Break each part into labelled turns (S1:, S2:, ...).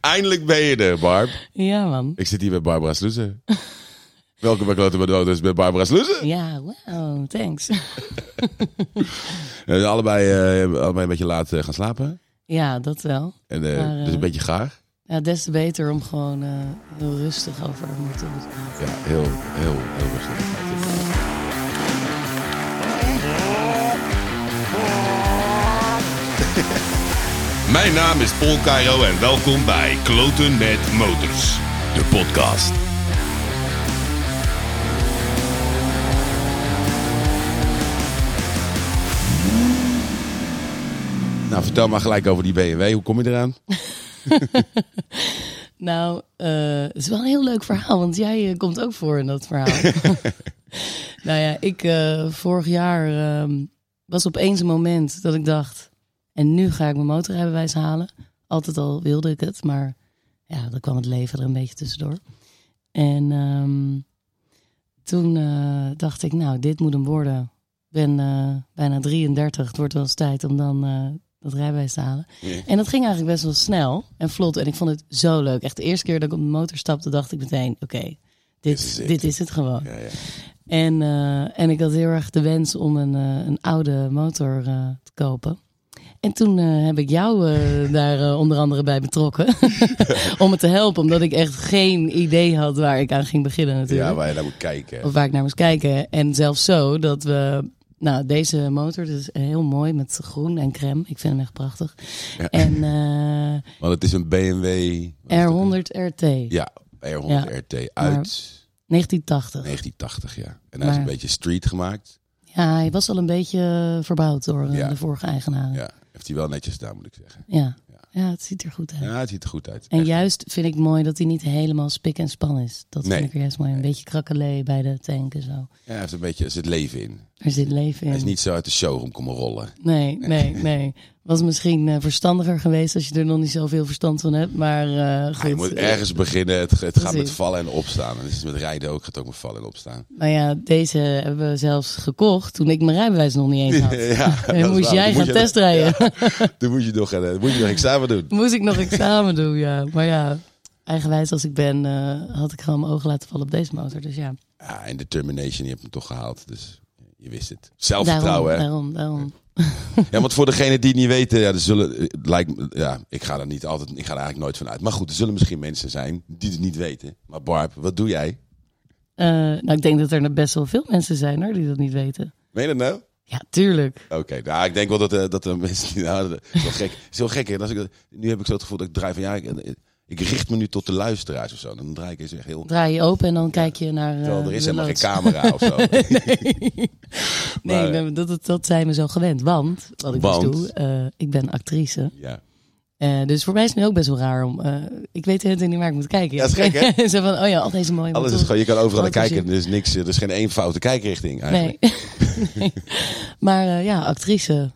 S1: Eindelijk ben je er, Barb.
S2: Ja, man.
S1: Ik zit hier bij Barbara Sluizen. Welkom bij Kloten Bedrood, dus bij Barbara Sluizen.
S2: Ja, wow, thanks.
S1: We zijn allebei, eh, allebei een beetje laat eh, gaan slapen.
S2: Ja, dat wel.
S1: En, eh,
S2: Maar, eh,
S1: dus een beetje gaar.
S2: Ja, des te beter om gewoon eh, heel rustig over moeten praten.
S1: Ja, heel, heel, heel rustig. Mijn naam is Paul Cairo en welkom bij Kloten met Motors, de podcast. Nou, vertel maar gelijk over die BMW. Hoe kom je eraan?
S2: Nou, eh, het is wel een heel leuk verhaal, want jij eh, komt ook voor in dat verhaal. nou ja, ik eh, vorig jaar ehm, was opeens een moment dat ik dacht, en nu ga ik mijn motorrijbewijs halen. Altijd al wilde ik het, maar ja, dan kwam het leven er een beetje tussendoor. En ehm, toen eh, dacht ik, nou, dit moet hem worden. Ik ben eh, bijna 33, het wordt wel eens tijd om dan eh, dat rijbewijs te halen. En dat ging eigenlijk best wel snel en vlot. En ik vond het zo leuk. Echt de eerste keer dat ik op de motor stapte, dacht ik meteen, oké, dit,
S1: is het.
S2: dit is het gewoon.
S1: ja.
S2: En, eh, en ik had heel erg de wens om een, eh, een oude motor eh, te kopen. En toen eh, heb ik jou eh, daar eh, onder andere bij betrokken. om me te helpen, omdat ik echt geen idee had waar ik aan ging beginnen natuurlijk.
S1: ja, waar je naar moet kijken.
S2: Of waar ik naar moest kijken. En zelfs zo dat we... Nou, deze motor dus heel mooi met groen en crème. Ik vind hem echt prachtig.
S1: Ja.
S2: En eh,
S1: Want het is een BMW...
S2: R100 RT.
S1: Ja, R100
S2: Ja.
S1: RT uit
S2: Maar- 1980.
S1: 1980, ja. En hij is een
S2: Maar-
S1: beetje street gemaakt.
S2: Ja, hij was al een beetje verbouwd door eh,
S1: Ja.
S2: de vorige eigenaar.
S1: Ja, heeft hij wel netjes staan, moet ik zeggen.
S2: Ja.
S1: Ja.
S2: ja. het ziet er goed uit.
S1: Ja, het ziet er goed uit.
S2: En
S1: Echt.
S2: juist vind ik mooi dat hij niet helemaal spik en span is. Dat
S1: Nee.
S2: vind ik er juist mooi. Een beetje krakkelee bij de tank en zo.
S1: Ja, hij heeft een beetje, er zit leven in.
S2: Er zit leven in.
S1: Hij is niet zo uit de showroom komen rollen.
S2: Nee, nee, nee. Was misschien eh, verstandiger geweest als je er nog niet zoveel verstand van hebt. Maar eh, goed.
S1: je moet ergens beginnen. Het, het gaat met
S2: Precies.
S1: vallen en opstaan. En het is met rijden ook. Het gaat ook met vallen en opstaan.
S2: Nou ja, deze hebben we zelfs gekocht toen ik mijn rijbewijs nog niet eens had.
S1: Ja, dat is
S2: En moest
S1: waar.
S2: Nou, jij
S1: Dan
S2: gaan
S1: je-
S2: testrijden.
S1: Dan moet je nog, gaan, eh, moet je nog examen doen.
S2: Moest ik nog examen doen, ja. Maar ja, eigenwijs als ik ben, eh, had ik gewoon mijn ogen laten vallen op deze motor. Dus ja,
S1: Ja, en determination, je hebt hem toch gehaald. Dus je wist het.
S2: daarom,
S1: Zelfvertrouwen. hè?
S2: daarom, daarom.
S1: Ja, want voor degenen die het niet weten, ja, er zullen, eh, lijkt, me- ja, ik ga daar niet altijd, ik ga er eigenlijk nooit van uit. Maar goed, er zullen misschien mensen zijn die het niet weten. Maar Barb, wat doe jij?
S2: Eh, nou, ik denk dat er best wel veel mensen zijn hoor, die dat niet weten.
S1: Meen je dat nou?
S2: Ja, tuurlijk.
S1: Oké, nou, ik denk wel dat, eh, dat de mensen die, nou, dat is wel gek. Het is heel gek, hè? Als ik, dat- nu heb ik zo het gevoel dat ik draai van, ja, ik, ik richt me nu tot de luisteraars of zo. Dan draai ik eens echt heel,
S2: Draai je open en dan kijk je naar. eh,
S1: terwijl er is
S2: de
S1: helemaal geen
S2: loods.
S1: camera of zo.
S2: Nee,
S1: Maar,
S2: nee, dat, dat, dat zijn we zo gewend. Want, wat ik
S1: Want?
S2: dus doe, eh, ik ben actrice.
S1: Ja.
S2: Eh, dus voor mij is het nu ook best wel raar om... eh, ik weet het niet waar ik moet kijken.
S1: Ja, dat is gek,
S2: Zo van, oh ja, al deze mooie...
S1: Alles is
S2: motoren.
S1: gewoon, je kan overal naar
S2: Wat is
S1: kijken. Er is niks, eh, er is geen één foute kijkrichting eigenlijk.
S2: Nee. Nee. Maar eh, ja, actrice.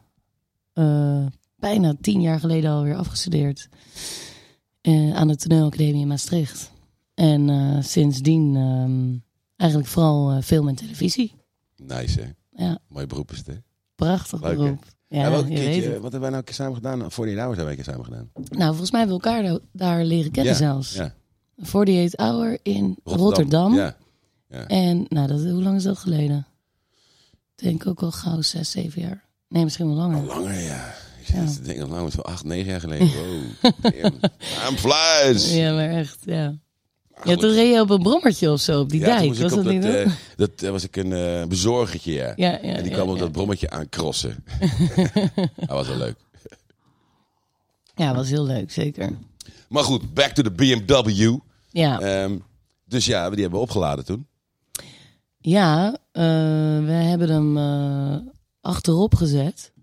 S2: Eh, bijna tien jaar geleden alweer afgestudeerd. eh, aan de toneelacademie in Maastricht. En eh, sindsdien ehm, eigenlijk vooral eh, film en televisie.
S1: Nice, hè?
S2: Ja,
S1: Mooi beroep is het, hè?
S2: prachtig
S1: Leuk, hè?
S2: beroep. Ja,
S1: Ja,
S2: je weet het.
S1: wat hebben wij nou samen gedaan? Voor die hours hebben wij samen gedaan.
S2: Nou, volgens mij hebben we elkaar da- daar leren kennen
S1: Ja,
S2: zelfs.
S1: ja.
S2: 48 Hour in Rotterdam.
S1: Ja.
S2: En nou, dat, hoe lang is dat geleden? Ik denk ook al gauw zes, zeven jaar. Nee, misschien wel langer.
S1: Al langer, ja. Ik zit te denken, lang, het is wel acht, negen jaar geleden. Wow. damn. I'm flies.
S2: Ja, maar echt, ja.
S1: Maar
S2: Ja,
S1: goed.
S2: toen reed je op een brommertje of zo op die
S1: Ja, toen
S2: dijk.
S1: moest ik
S2: Was
S1: op
S2: dat niet? dat?
S1: eh, dat eh, was ik een eh, bezorgertje, ja.
S2: ja, ja.
S1: en die
S2: ja,
S1: kwam op
S2: ja.
S1: dat brommetje aan crossen. dat was wel leuk.
S2: Ja, was heel leuk, zeker.
S1: Maar goed, back to the BMW.
S2: Ja,
S1: Ehm, dus ja, die hebben we opgeladen toen.
S2: ja eh, we hebben hem eh, achterop gezet.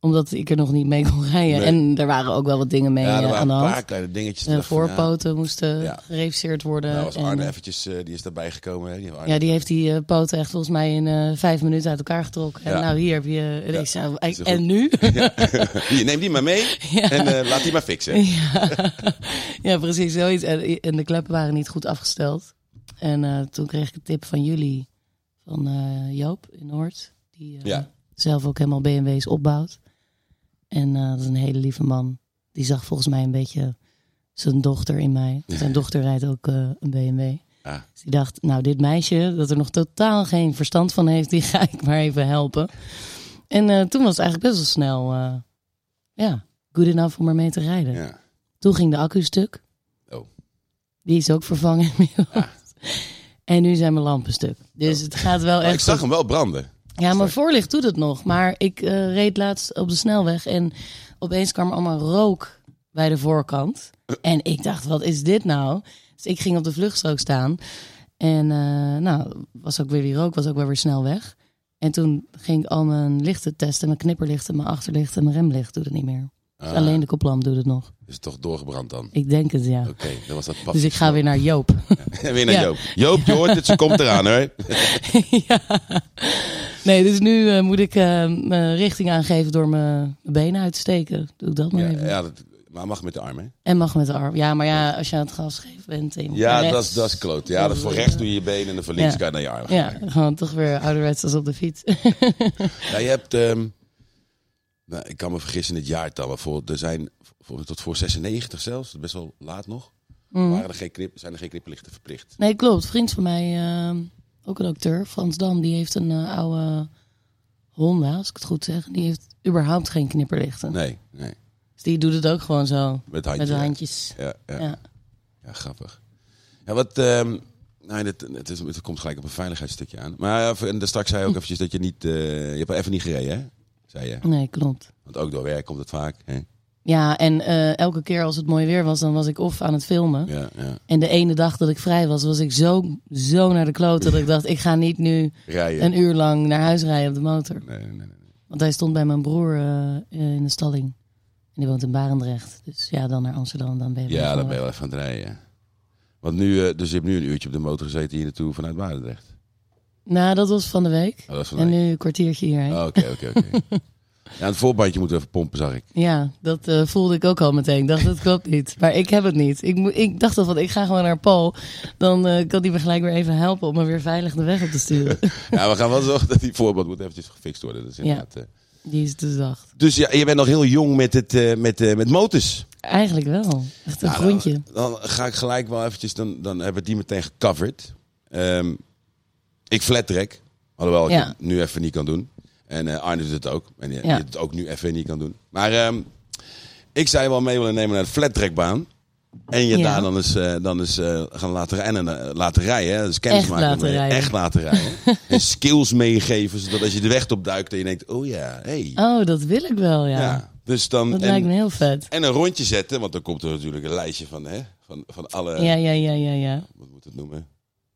S2: Omdat ik er nog niet mee kon rijden.
S1: Nee.
S2: En er waren ook wel wat dingen mee
S1: ja, er
S2: eh, aan
S1: waren
S2: de
S1: een
S2: hand.
S1: paar kleine dingetjes.
S2: Eh,
S1: Toen dacht ik van, ja,
S2: voorpoten moesten
S1: Ja.
S2: gereviseerd worden.
S1: Nou was
S2: en-
S1: Arne eventjes, eh, die is daarbij gekomen. Hè? Die heeft Arne-
S2: Ja, die heeft die eh, poten echt volgens mij in eh, vijf minuten uit elkaar getrokken.
S1: Ja.
S2: En nou, hier heb je... en
S1: Ja,
S2: ik zei,
S1: is een
S2: en
S1: goed-
S2: nu?
S1: Ja. Hier, neem die maar mee
S2: Ja.
S1: en eh, laat die maar fixen.
S2: Ja, ja precies, zoiets. En, en de kleppen waren niet goed afgesteld. En eh, toen kreeg ik een tip van jullie, van eh, Joop in Noord. Die eh,
S1: Ja.
S2: zelf ook helemaal BMW's opbouwt. En eh, dat is een hele lieve man. Die zag volgens mij een beetje zijn dochter in mij. Zijn dochter rijdt ook eh, een BMW.
S1: Ah.
S2: Dus die dacht, nou, dit meisje dat er nog totaal geen verstand van heeft, die ga ik maar even helpen. En eh, toen was het eigenlijk best wel snel, eh, ja, good enough om ermee te rijden.
S1: Ja.
S2: Toen ging de accu stuk.
S1: Oh.
S2: Die is ook vervangen inmiddels. En nu zijn mijn lampen stuk. Dus het gaat wel
S1: Maar
S2: echt
S1: Oh. ik zag
S2: goed.
S1: hem wel branden.
S2: Ja, mijn voorlicht doet het nog. Maar ik eh, reed laatst op de snelweg en opeens kwam er allemaal rook bij de voorkant. En ik dacht, wat is dit nou? Dus ik ging op de vluchtstrook staan. En eh, nou, was ook weer die rook, was ook wel weer snel weg. En toen ging ik al mijn lichten testen, mijn knipperlichten, mijn achterlichten, mijn remlicht doet het niet meer.
S1: Ah.
S2: Dus alleen de koplamp doet het nog.
S1: Is toch doorgebrand dan?
S2: Ik denk het, ja.
S1: Oké, dan was dat pap.
S2: Dus ik ga weer naar Joop.
S1: weer naar
S2: Ja.
S1: Joop. Joop, je hoort het, ze komt eraan hoor.
S2: ja. Nee, dus nu eh, moet ik eh, mijn richting aangeven door mijn benen uit te steken. Doe ik dat maar
S1: Ja,
S2: even.
S1: ja dat, maar mag met de arm hè?
S2: En mag met de arm. Ja, maar ja, als je aan het gas geven bent. en je moet naar
S1: Ja, dat
S2: rechts.
S1: is, dat is kloot. Ja, dat voor rechts doe je je benen en dan voor links ga je naar je arm.
S2: Ja, gewoon toch weer ouderwets als op de fiets.
S1: Ja, je hebt, ehm, nou, ik kan me vergissen in het jaartal, maar voor, er zijn voor, tot voor 96 zelfs, best wel laat nog,
S2: Mm.
S1: waren er geen knip, zijn er geen knipperlichten verplicht.
S2: nee, klopt. Vriend van mij, eh, ook een acteur, Frans Dam, die heeft een eh, oude Honda, als ik het goed zeg. Die heeft überhaupt geen knipperlichten.
S1: Nee, nee.
S2: Dus die doet het ook gewoon zo.
S1: Met handje.
S2: Met de
S1: ja.
S2: handjes.
S1: Ja, ja.
S2: Ja.
S1: Ja, grappig. Ja, wat, ehm, nou, dit, het, is, het komt gelijk op een veiligheidsstukje aan. Maar even- en daar straks zei je ook
S2: Hm.
S1: eventjes dat je niet, eh, je hebt even niet gereden, hè? Zei je.
S2: Nee, klopt.
S1: Want ook door werk komt het vaak. Hè?
S2: Hm? Ja, en eh, elke keer als het mooi weer was, dan was ik of aan het filmen.
S1: Ja, ja.
S2: En de ene dag dat ik vrij was, was ik zo, zo naar de klote dat ik dacht, ik ga niet nu
S1: Rijden.
S2: een uur lang naar huis rijden op de motor.
S1: Nee, nee, nee, nee.
S2: Want hij stond bij mijn broer eh, eh, in de stalling. En die woont in Barendrecht. Dus ja, dan naar Amsterdam, dan ben je
S1: Ja,
S2: wel
S1: daar
S2: van
S1: ben je
S2: weg.
S1: wel even aan het rijden. Want nu, eh, dus je hebt nu een uurtje op de motor gezeten hier naartoe vanuit Barendrecht.
S2: Nou, dat was van de week.
S1: Oh, dat is van
S2: En
S1: mij.
S2: nu een kwartiertje hierheen.
S1: Oh, Oké, oké, oké. Ja, het voorbandje moeten we even pompen, zag ik.
S2: Ja, dat eh, voelde ik ook al meteen. Ik dacht, dat klopt niet. Maar ik heb het niet. Ik, moet- ik dacht al van, ik ga gewoon naar Paul. Dan eh, kan hij me gelijk weer even helpen om me weer veilig de weg op te sturen.
S1: Ja, we gaan wel zorgen dat die voorband moet eventjes gefixt worden. Dat is inderdaad, eh.
S2: Die is dus zacht.
S1: Dus ja, je bent nog heel jong met, het, eh, met, eh, met motors.
S2: Eigenlijk wel. Echt een
S1: Nou,
S2: groentje.
S1: Dan, dan ga ik gelijk wel eventjes, dan, dan hebben we die meteen gecoverd. Ehm, ik flat track, alhoewel ik
S2: Ja.
S1: het nu even niet kan doen. En eh, Arne doet het ook, en die,
S2: Ja.
S1: die het ook nu even niet kan doen. Maar ehm, ik zou je wel mee willen nemen naar de flat trackbaan. En je
S2: Ja.
S1: daar dan eens, eh, dan eens eh, gaan laten, en, laten rijden. Hè? Dus kennis
S2: Echt
S1: maken
S2: laten
S1: mee.
S2: rijden.
S1: Echt laten rijden. en skills meegeven, zodat als je de weg op duikt en je denkt, oh ja, Hey.
S2: Oh, dat wil ik wel, ja.
S1: ja. Dus dan,
S2: Dat
S1: en-
S2: lijkt me heel vet.
S1: en een rondje zetten, want dan komt er natuurlijk een lijstje van, hè, van, van alle,
S2: Ja, ja, ja, ja, ja.
S1: wat moet het noemen?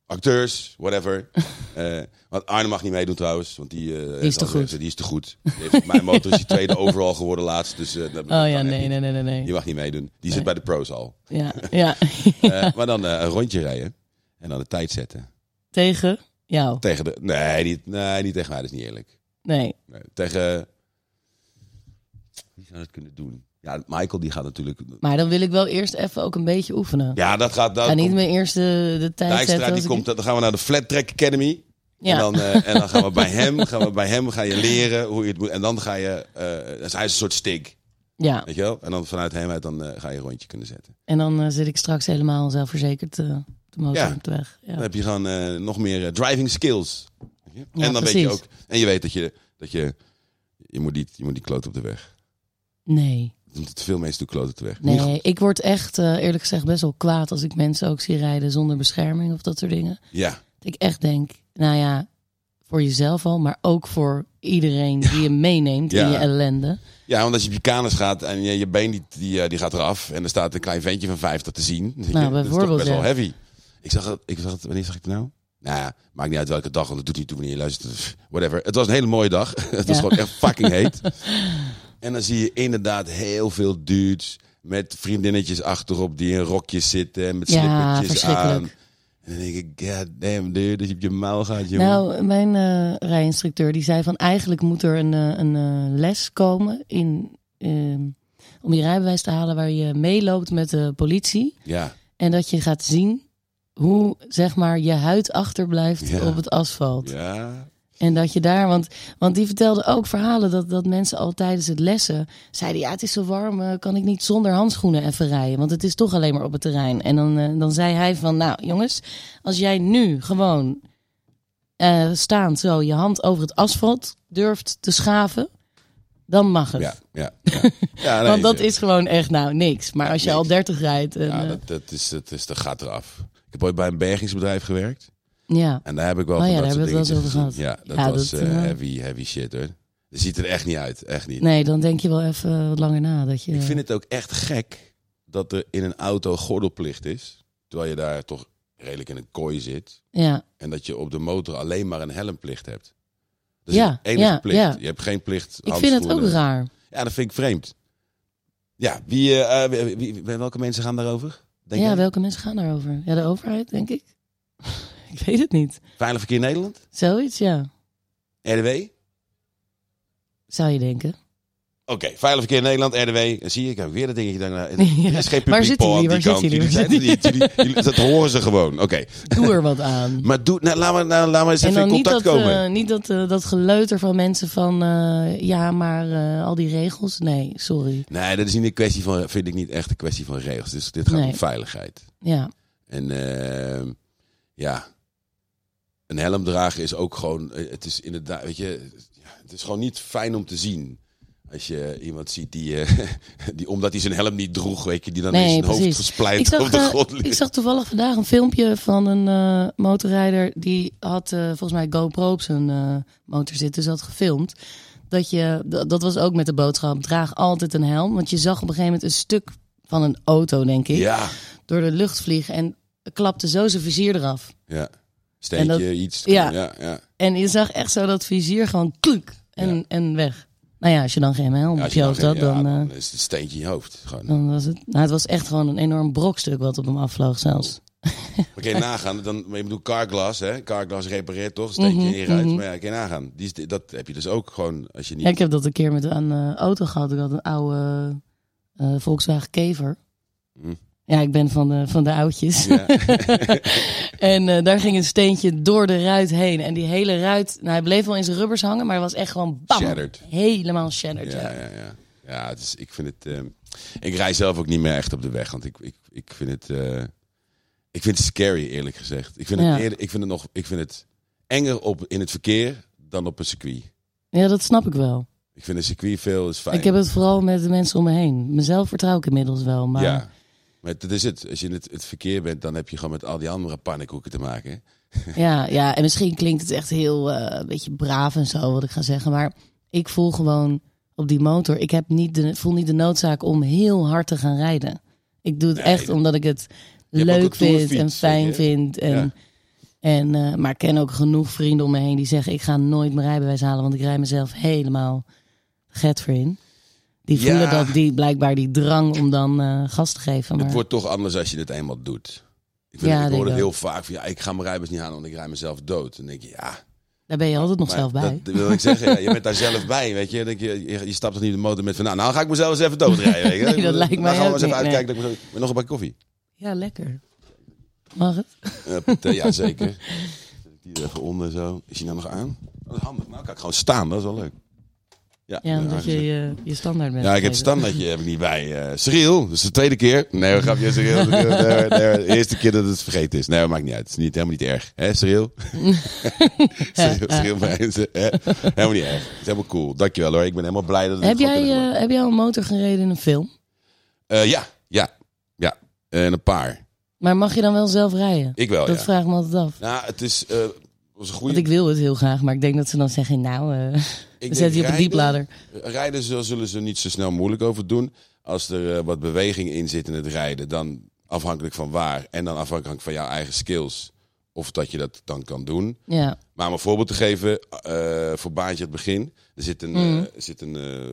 S1: Acteurs, whatever. Eh, want Arne mag niet meedoen trouwens, want die, eh,
S2: is te
S1: zal ik
S2: goed.
S1: zeggen, Die is te goed. Die heeft op mijn motor is die tweede overal geworden laatst, dus eh, dat- dat kan
S2: Oh ja,
S1: echt
S2: nee,
S1: niet.
S2: nee, nee, nee,
S1: Die
S2: nee.
S1: mag niet meedoen. Die zit bij
S2: Nee.
S1: de pros al.
S2: Ja, ja.
S1: Eh, maar dan eh, een rondje rijden en dan de tijd zetten.
S2: Tegen jou.
S1: Tegen de, nee, niet, nee, niet tegen mij, dat is niet eerlijk.
S2: Nee.
S1: Nee, tegen, wie zou dat kunnen doen? Ja, Michael die gaat natuurlijk...
S2: Maar dan wil ik wel eerst even ook een beetje oefenen.
S1: Ja, dat gaat... Dat
S2: Ga niet
S1: komt-
S2: meer eerst de, de tijd zetten.
S1: Dijkstra
S2: als
S1: die
S2: ik-
S1: komt, dan gaan we naar de Flat Track Academy.
S2: Ja.
S1: En, dan, eh, en dan gaan we bij hem, gaan we bij hem gaan je leren hoe je het moet. En dan ga je, eh, dus hij is een soort stick,
S2: ja.
S1: weet je wel? En dan vanuit hem uit dan eh, ga je een rondje kunnen zetten.
S2: En dan eh, zit ik straks helemaal zelfverzekerd eh, op de motor
S1: Ja.
S2: op de weg. Ja.
S1: Dan heb je gewoon eh, nog meer eh, driving skills. Weet je?
S2: Ja,
S1: en dan weet je
S2: precies.
S1: ook, en je weet dat je, dat je, je moet niet, je moet niet kloten op de weg.
S2: Nee.
S1: Want Veel mensen doen kloten op de weg. Niet goed.
S2: Nee, ik word echt eh, eerlijk gezegd best wel kwaad als ik mensen ook zie rijden zonder bescherming of dat soort dingen.
S1: Ja,
S2: Dat ik echt denk, nou ja, voor jezelf al, maar ook voor iedereen die je meeneemt
S1: Ja.
S2: in je ellende.
S1: ja, want als je op je kanus gaat en je, je been die, die, eh, die gaat eraf. En er staat een klein ventje van 50 te zien. weet je, dat is toch
S2: Nou, bijvoorbeeld,
S1: best wel
S2: ja.
S1: heavy. Ik zag het, ik zag het, wanneer zag ik het nou? Nou ja, maakt niet uit welke dag, want het doet niet toe wanneer je luistert. dus Whatever. Het was een hele mooie dag. het was
S2: Ja.
S1: gewoon echt fucking heet. en dan zie je inderdaad heel veel dudes met vriendinnetjes achterop die in rokjes zitten en met
S2: Ja,
S1: slippertjes aan.
S2: verschrikkelijk.
S1: En dan denk ik, god damn dude, dat je op je muil gaat, jongen.
S2: Nou, mijn eh, rijinstructeur die zei van eigenlijk moet er een, eh, een eh, les komen in, ehm, om je rijbewijs te halen waar je meeloopt met de politie.
S1: ja,
S2: En dat je gaat zien hoe zeg maar je huid achterblijft
S1: Ja.
S2: op het asfalt.
S1: ja.
S2: En dat je daar, want, want die vertelde ook verhalen dat, dat mensen al tijdens het lessen zeiden: Ja, het is zo warm, eh, kan ik niet zonder handschoenen even rijden? Want het is toch alleen maar op het terrein. En dan, eh, dan zei hij: van, Nou, jongens, als jij nu gewoon eh, staand zo je hand over het asfalt durft te schaven, dan mag het.
S1: Ja, ja. ja. Ja, nee, eh,
S2: Want dat
S1: zeker.
S2: is gewoon echt, nou, niks. Maar als je
S1: niks.
S2: al 30 rijdt. En,
S1: Ja,
S2: eh,
S1: dat, dat, is, dat, is, dat gaat eraf. Ik heb ooit bij een bergingsbedrijf gewerkt.
S2: ja.
S1: En daar heb ik wel
S2: Oh
S1: van
S2: ja,
S1: dat
S2: daar
S1: soort
S2: hebben we het wel
S1: dingetjes
S2: eens over
S1: gezien.
S2: gehad.
S1: Ja, dat
S2: Ja,
S1: was
S2: dat,
S1: eh,
S2: eh,
S1: heavy, heavy shit hoor. Dat ziet er echt niet uit. Echt niet.
S2: Nee, dan denk je wel even wat langer na. Dat je,
S1: Ik vind het ook echt gek dat er in een auto gordelplicht is. Terwijl je daar toch redelijk in een kooi zit.
S2: Ja,
S1: En dat je op de motor alleen maar een helmplicht hebt. Dat is
S2: Ja,
S1: je enige
S2: ja,
S1: plicht.
S2: ja.
S1: Je hebt geen plicht.
S2: ik vind het ook
S1: handschoenen.
S2: raar.
S1: Ja, dat vind ik vreemd. Ja, wie, eh, eh, wie, wie- welke mensen gaan daarover? Denk
S2: ja,
S1: jij?
S2: welke mensen gaan daarover? Ja, de overheid, denk ik. ik weet het niet.
S1: Veilig Verkeer Nederland?
S2: Zoiets, ja.
S1: RDW?
S2: Zou je denken.
S1: Oké, Veilig Verkeer Nederland, RDW. Dan zie je, ik heb weer dat dingetje. Denk, nou, er
S2: Ja.
S1: is geen publiek
S2: Waar zitten
S1: poll aan
S2: jullie? Waar
S1: die kant.
S2: zitten
S1: Jullie
S2: jullie?
S1: zijn er niet. Jullie- jullie- Dat horen ze gewoon. Oké,
S2: Doe er wat aan.
S1: maar doe, nou, laat, maar, nou, laat maar eens
S2: En
S1: even
S2: dan
S1: in
S2: niet
S1: contact
S2: dat, eh,
S1: komen.
S2: niet dat, eh, dat geleuter van mensen van... eh, ja, maar eh, al die regels. Nee, sorry.
S1: Nee, dat is niet een kwestie van, vind ik niet echt een kwestie van regels. Dus dit gaat om
S2: Nee.
S1: veiligheid.
S2: Ja,
S1: En ehm, ja, een helm dragen is ook gewoon, eh, het is inderdaad, weet je, ja, het is gewoon niet fijn om te zien. Als je iemand ziet die, eh, die omdat hij zijn helm niet droeg, weet je, die dan
S2: Nee,
S1: in zijn hoofd
S2: precies.
S1: gespleit
S2: Ik zag,
S1: op de
S2: eh,
S1: grond
S2: Ik
S1: ligt.
S2: zag toevallig vandaag een filmpje van een eh, motorrijder. Die had eh, volgens mij GoPro op zijn eh, motor zitten. Dus had gefilmd. Dat, je, d- dat was ook met de boodschap. Draag altijd een helm. Want je zag op een gegeven moment een stuk van een auto, denk ik.
S1: Ja,
S2: Door de lucht vliegen. En klapte zo zijn vizier eraf.
S1: ja.
S2: En
S1: Steentje,
S2: dat-
S1: iets.
S2: ja.
S1: ja, ja.
S2: En je zag echt zo dat vizier gewoon kluk. En, en weg. Nou ja, als je dan geen helm
S1: Ja,
S2: op
S1: als
S2: je
S1: je
S2: hoofd
S1: dan-
S2: had,
S1: ja,
S2: dan... eh,
S1: dan is het een steentje in je hoofd. Gewoon.
S2: dan was het, nou, het was echt gewoon een enorm brokstuk wat op hem afvloog zelfs.
S1: Maar kan je nagaan, dan, maar ik bedoel carglass, hè? Carglass repareert toch, steentje
S2: Mhm,
S1: in je ruit. Maar ja, kan je nagaan, die, is- dat heb je dus ook gewoon als je niet...
S2: Ja, ik heb dat een keer met een eh, auto gehad. Ik had een oude eh, Volkswagen Kever.
S1: Hm.
S2: Ja, ik ben van de, van de oudjes.
S1: Ja.
S2: en eh, daar ging een steentje door de ruit heen. En die hele ruit, nou, hij bleef wel in zijn rubbers hangen, maar hij was echt gewoon bam.
S1: Shattered.
S2: Helemaal shattered, ja.
S1: Ja, ja, ja. Ja, het is, ik vind het. ehm, ik rij zelf ook niet meer echt op de weg, want ik, ik, ik vind het. eh, ik vind het scary, eerlijk gezegd. Ik vind het,
S2: Ja.
S1: eerder- ik vind het nog. Ik vind het enger op in het verkeer dan op een circuit.
S2: Ja, dat snap ik wel.
S1: Ik vind een circuit veel is fijn.
S2: Ik heb het vooral met de mensen om me heen. Mezelf vertrouw ik inmiddels wel, maar
S1: Ja. Maar dat is het. Als je in het, het verkeer bent, dan heb je gewoon met al die andere pannenkoeken te maken.
S2: Ja, ja, en misschien klinkt het echt heel eh, een beetje braaf en zo wat ik ga zeggen. Maar ik voel gewoon op die motor. Ik heb niet de, voel niet de noodzaak om heel hard te gaan rijden. Ik doe het
S1: Nee,
S2: echt
S1: dat-
S2: omdat ik het
S1: hebt ook
S2: leuk
S1: een
S2: vind
S1: toerfiets,
S2: en fijn
S1: weet je?
S2: vind. En,
S1: Ja.
S2: en, eh, maar ik ken ook genoeg vrienden om me heen die zeggen... ik ga nooit mijn rijbewijs halen, want ik rij mezelf helemaal get voor in. Die
S1: Ja.
S2: voelen dat, die, blijkbaar die drang om dan eh, gas te geven. Maar,
S1: Het wordt toch anders als je het eenmaal doet. Ik, vind,
S2: Ja,
S1: ik
S2: denk
S1: hoor het
S2: ik
S1: heel vaak van ja, ik ga mijn rijbewijs niet halen, want ik rij mezelf dood. Dan denk je, ja,
S2: daar ben je altijd nog zelf
S1: Maar
S2: bij.
S1: Dat wil ik zeggen. Ja, je bent daar zelf bij, weet je. Dan Denk je, je. je stapt toch niet op de motor met van... Nou, nou ga ik mezelf eens even doodrijden. Weet je.
S2: Nee, dat
S1: Dan
S2: lijkt mij
S1: gaan we
S2: ook
S1: eens even
S2: niet, nee.
S1: uitkijken. dat ik mezelf- Met nog een bak koffie.
S2: Ja, lekker. Mag het?
S1: Eh, put, eh, ja, zeker. Zet ik die er even onder zo. Is die nou nog aan? Oh, dat is handig. Nou, kan ik gewoon staan. Dat is wel leuk. Ja,
S2: Ja, omdat je
S1: aangezet.
S2: je, je standaard bent.
S1: Ja, ik heb het
S2: vergeten.
S1: standaardje heb ik niet bij. eh Cyril, dat is de tweede keer. Nee, we gaan je Cyril. Nee, nee, nee, de eerste keer dat het vergeten is. Nee, maakt niet uit. Het is niet, helemaal niet erg. Hè, Cyril? Cyril, Cyril Meijzen, hè? Helemaal niet erg. Het is helemaal cool. Dankjewel hoor. Ik ben helemaal blij dat het
S2: Heb
S1: goed
S2: jij,
S1: is geworden.
S2: eh, heb jij al een motor gereden in een film?
S1: Eh, ja, ja, ja. En een paar.
S2: Maar mag je dan wel zelf rijden?
S1: Ik wel,
S2: dat
S1: ja.
S2: vraag ik me altijd af.
S1: Nou, het is, eh, was een goede...
S2: Want ik wil het heel graag, maar ik denk dat ze dan zeggen, nou, eh,
S1: denk
S2: we zetten je op een
S1: rijden-
S2: dieplader.
S1: Rijden zullen- zullen ze niet zo snel moeilijk over doen. Als er eh, wat beweging in zit in het rijden, dan afhankelijk van waar. En dan afhankelijk van jouw eigen skills. Of dat je dat dan kan doen.
S2: Ja,
S1: Maar om een voorbeeld te geven, eh, voor baantje het begin. Er zit een,
S2: Mhm.
S1: eh, er zit een, eh, eh,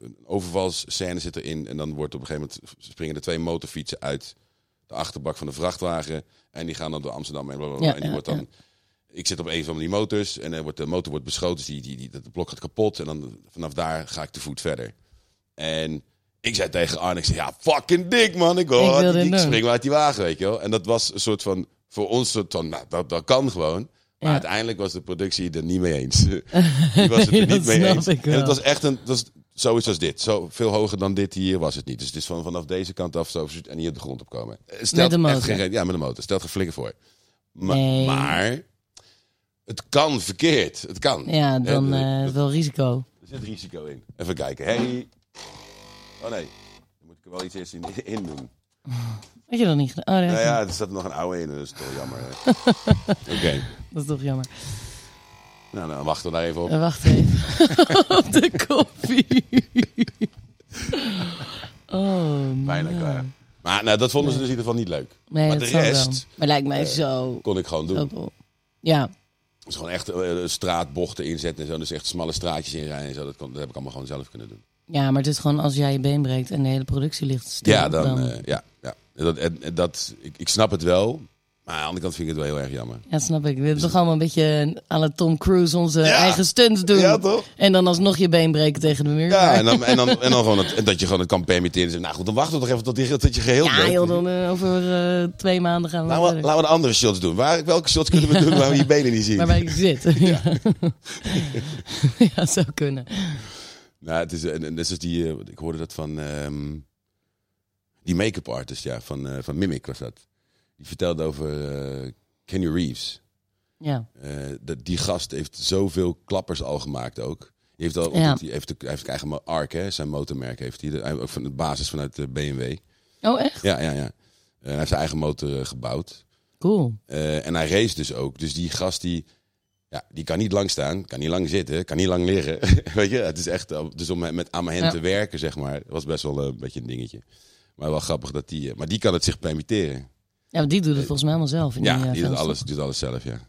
S1: een overvalsscène zit erin. En dan wordt op een gegeven moment springen er twee motorfietsen uit de achterbak van de vrachtwagen. En die gaan dan door Amsterdam en blablabla.
S2: Ja,
S1: en die
S2: ja,
S1: wordt dan. Ik zit op een van die motors en er wordt, de motor wordt beschoten. Dus die, die, die, dat blok gaat kapot. En dan vanaf daar ga ik te voet verder. En ik zei tegen Arne, ik zei, ja, fucking dik man. Ik, wil
S2: Ik wil
S1: ik,
S2: dit doen.
S1: spring maar uit die wagen, weet je wel. En dat was een soort van, voor ons soort van, nou, dat, dat kan gewoon. Maar
S2: Ja.
S1: uiteindelijk was de productie er niet mee eens. Die was het er
S2: Dat
S1: niet mee
S2: snap
S1: eens.
S2: ik
S1: En
S2: wel.
S1: het was echt een. Het was, zoiets als dit. Zo veel hoger dan dit hier was het niet. Dus het is van, vanaf deze kant af zo en hier de grond opkomen. Eh, Stelt
S2: de motor.
S1: Echt geen, reden- ja, met de motor. Stelt geen flikker voor. Ma-
S2: Nee.
S1: Maar het kan verkeerd. Het kan.
S2: Ja, dan
S1: Eh,
S2: eh, wel risico.
S1: er zit risico in. Even kijken. Hey. Oh nee. Dan moet ik er wel iets eerst in, in doen.
S2: Had je dat niet gedaan? Oh, dat,
S1: Nou
S2: heb je-
S1: ja, er zat nog een oude in. Dat is toch jammer. hè. Oké.
S2: dat is toch jammer.
S1: Nou, dan wachten we daar even op.
S2: Eh, wacht even. Op de koffie. oh,
S1: Bijna klaar. Maar nou, dat vonden ze dus in ieder geval niet leuk.
S2: nee,
S1: maar
S2: dat
S1: de
S2: zal
S1: rest eh,
S2: wel. Maar lijkt mij zo.
S1: kon ik gewoon doen.
S2: ook wel- Ja,
S1: Dus gewoon echt eh, straatbochten inzetten en zo. Dus echt smalle straatjes inrijden en zo. Dat, kon, dat heb ik allemaal gewoon zelf kunnen doen.
S2: Ja, maar het is gewoon als jij je been breekt en de hele productie ligt stil.
S1: Ja, dan, eh, ja, ja. Dat, en, en dat, ik, ik snap het wel. Maar aan de andere kant vind ik het wel heel erg jammer.
S2: Ja, snap ik. We hebben toch allemaal een beetje aan het Tom Cruise onze
S1: Ja.
S2: eigen stunts doen.
S1: Ja, toch?
S2: En dan alsnog je been breken tegen de muur.
S1: Ja, en dan, en dan, en dan gewoon het- en dat je gewoon het kan permitteren. Dus, nou goed, dan wachten we toch even tot, die, tot je geheel
S2: Ja,
S1: bent.
S2: joh, dan eh, over eh, twee maanden gaan we
S1: Laten we,
S2: verder.
S1: laten we de andere shots doen. Waar, welke shots kunnen we doen waar we je benen niet zien?
S2: Waarbij ik zit. Ja. ja, zou kunnen.
S1: Nou, het is, en, en dat is die, eh, ik hoorde dat van ehm, die make-up artist, ja, van, eh, van Mimic was dat. Die vertelde over eh, Kenny Reeves.
S2: Ja.
S1: Eh, dat, die gast heeft zoveel klappers al gemaakt ook. Die heeft al,
S2: Ja.
S1: want die heeft, ook- hij heeft ook eigen ma- ARC, hè, zijn motormerk heeft hij. Hij- Ook van de basis vanuit de BMW.
S2: Oh, echt?
S1: Ja, ja, ja. En hij heeft zijn eigen motor eh, gebouwd.
S2: Cool.
S1: Eh, en hij race dus ook. Dus die gast die, ja, die kan niet lang staan, kan niet lang zitten, kan niet lang liggen. Weet je, het is echt, eh, dus om met, aan hem
S2: Ja.
S1: te werken, zeg maar, was best wel eh, een beetje een dingetje. Maar wel grappig dat die, eh, maar die kan het zich permitteren.
S2: Ja, maar die doet het volgens mij allemaal zelf. In
S1: ja,
S2: die, eh,
S1: die doet
S2: films,
S1: alles,
S2: toch?
S1: doet alles zelf, ja.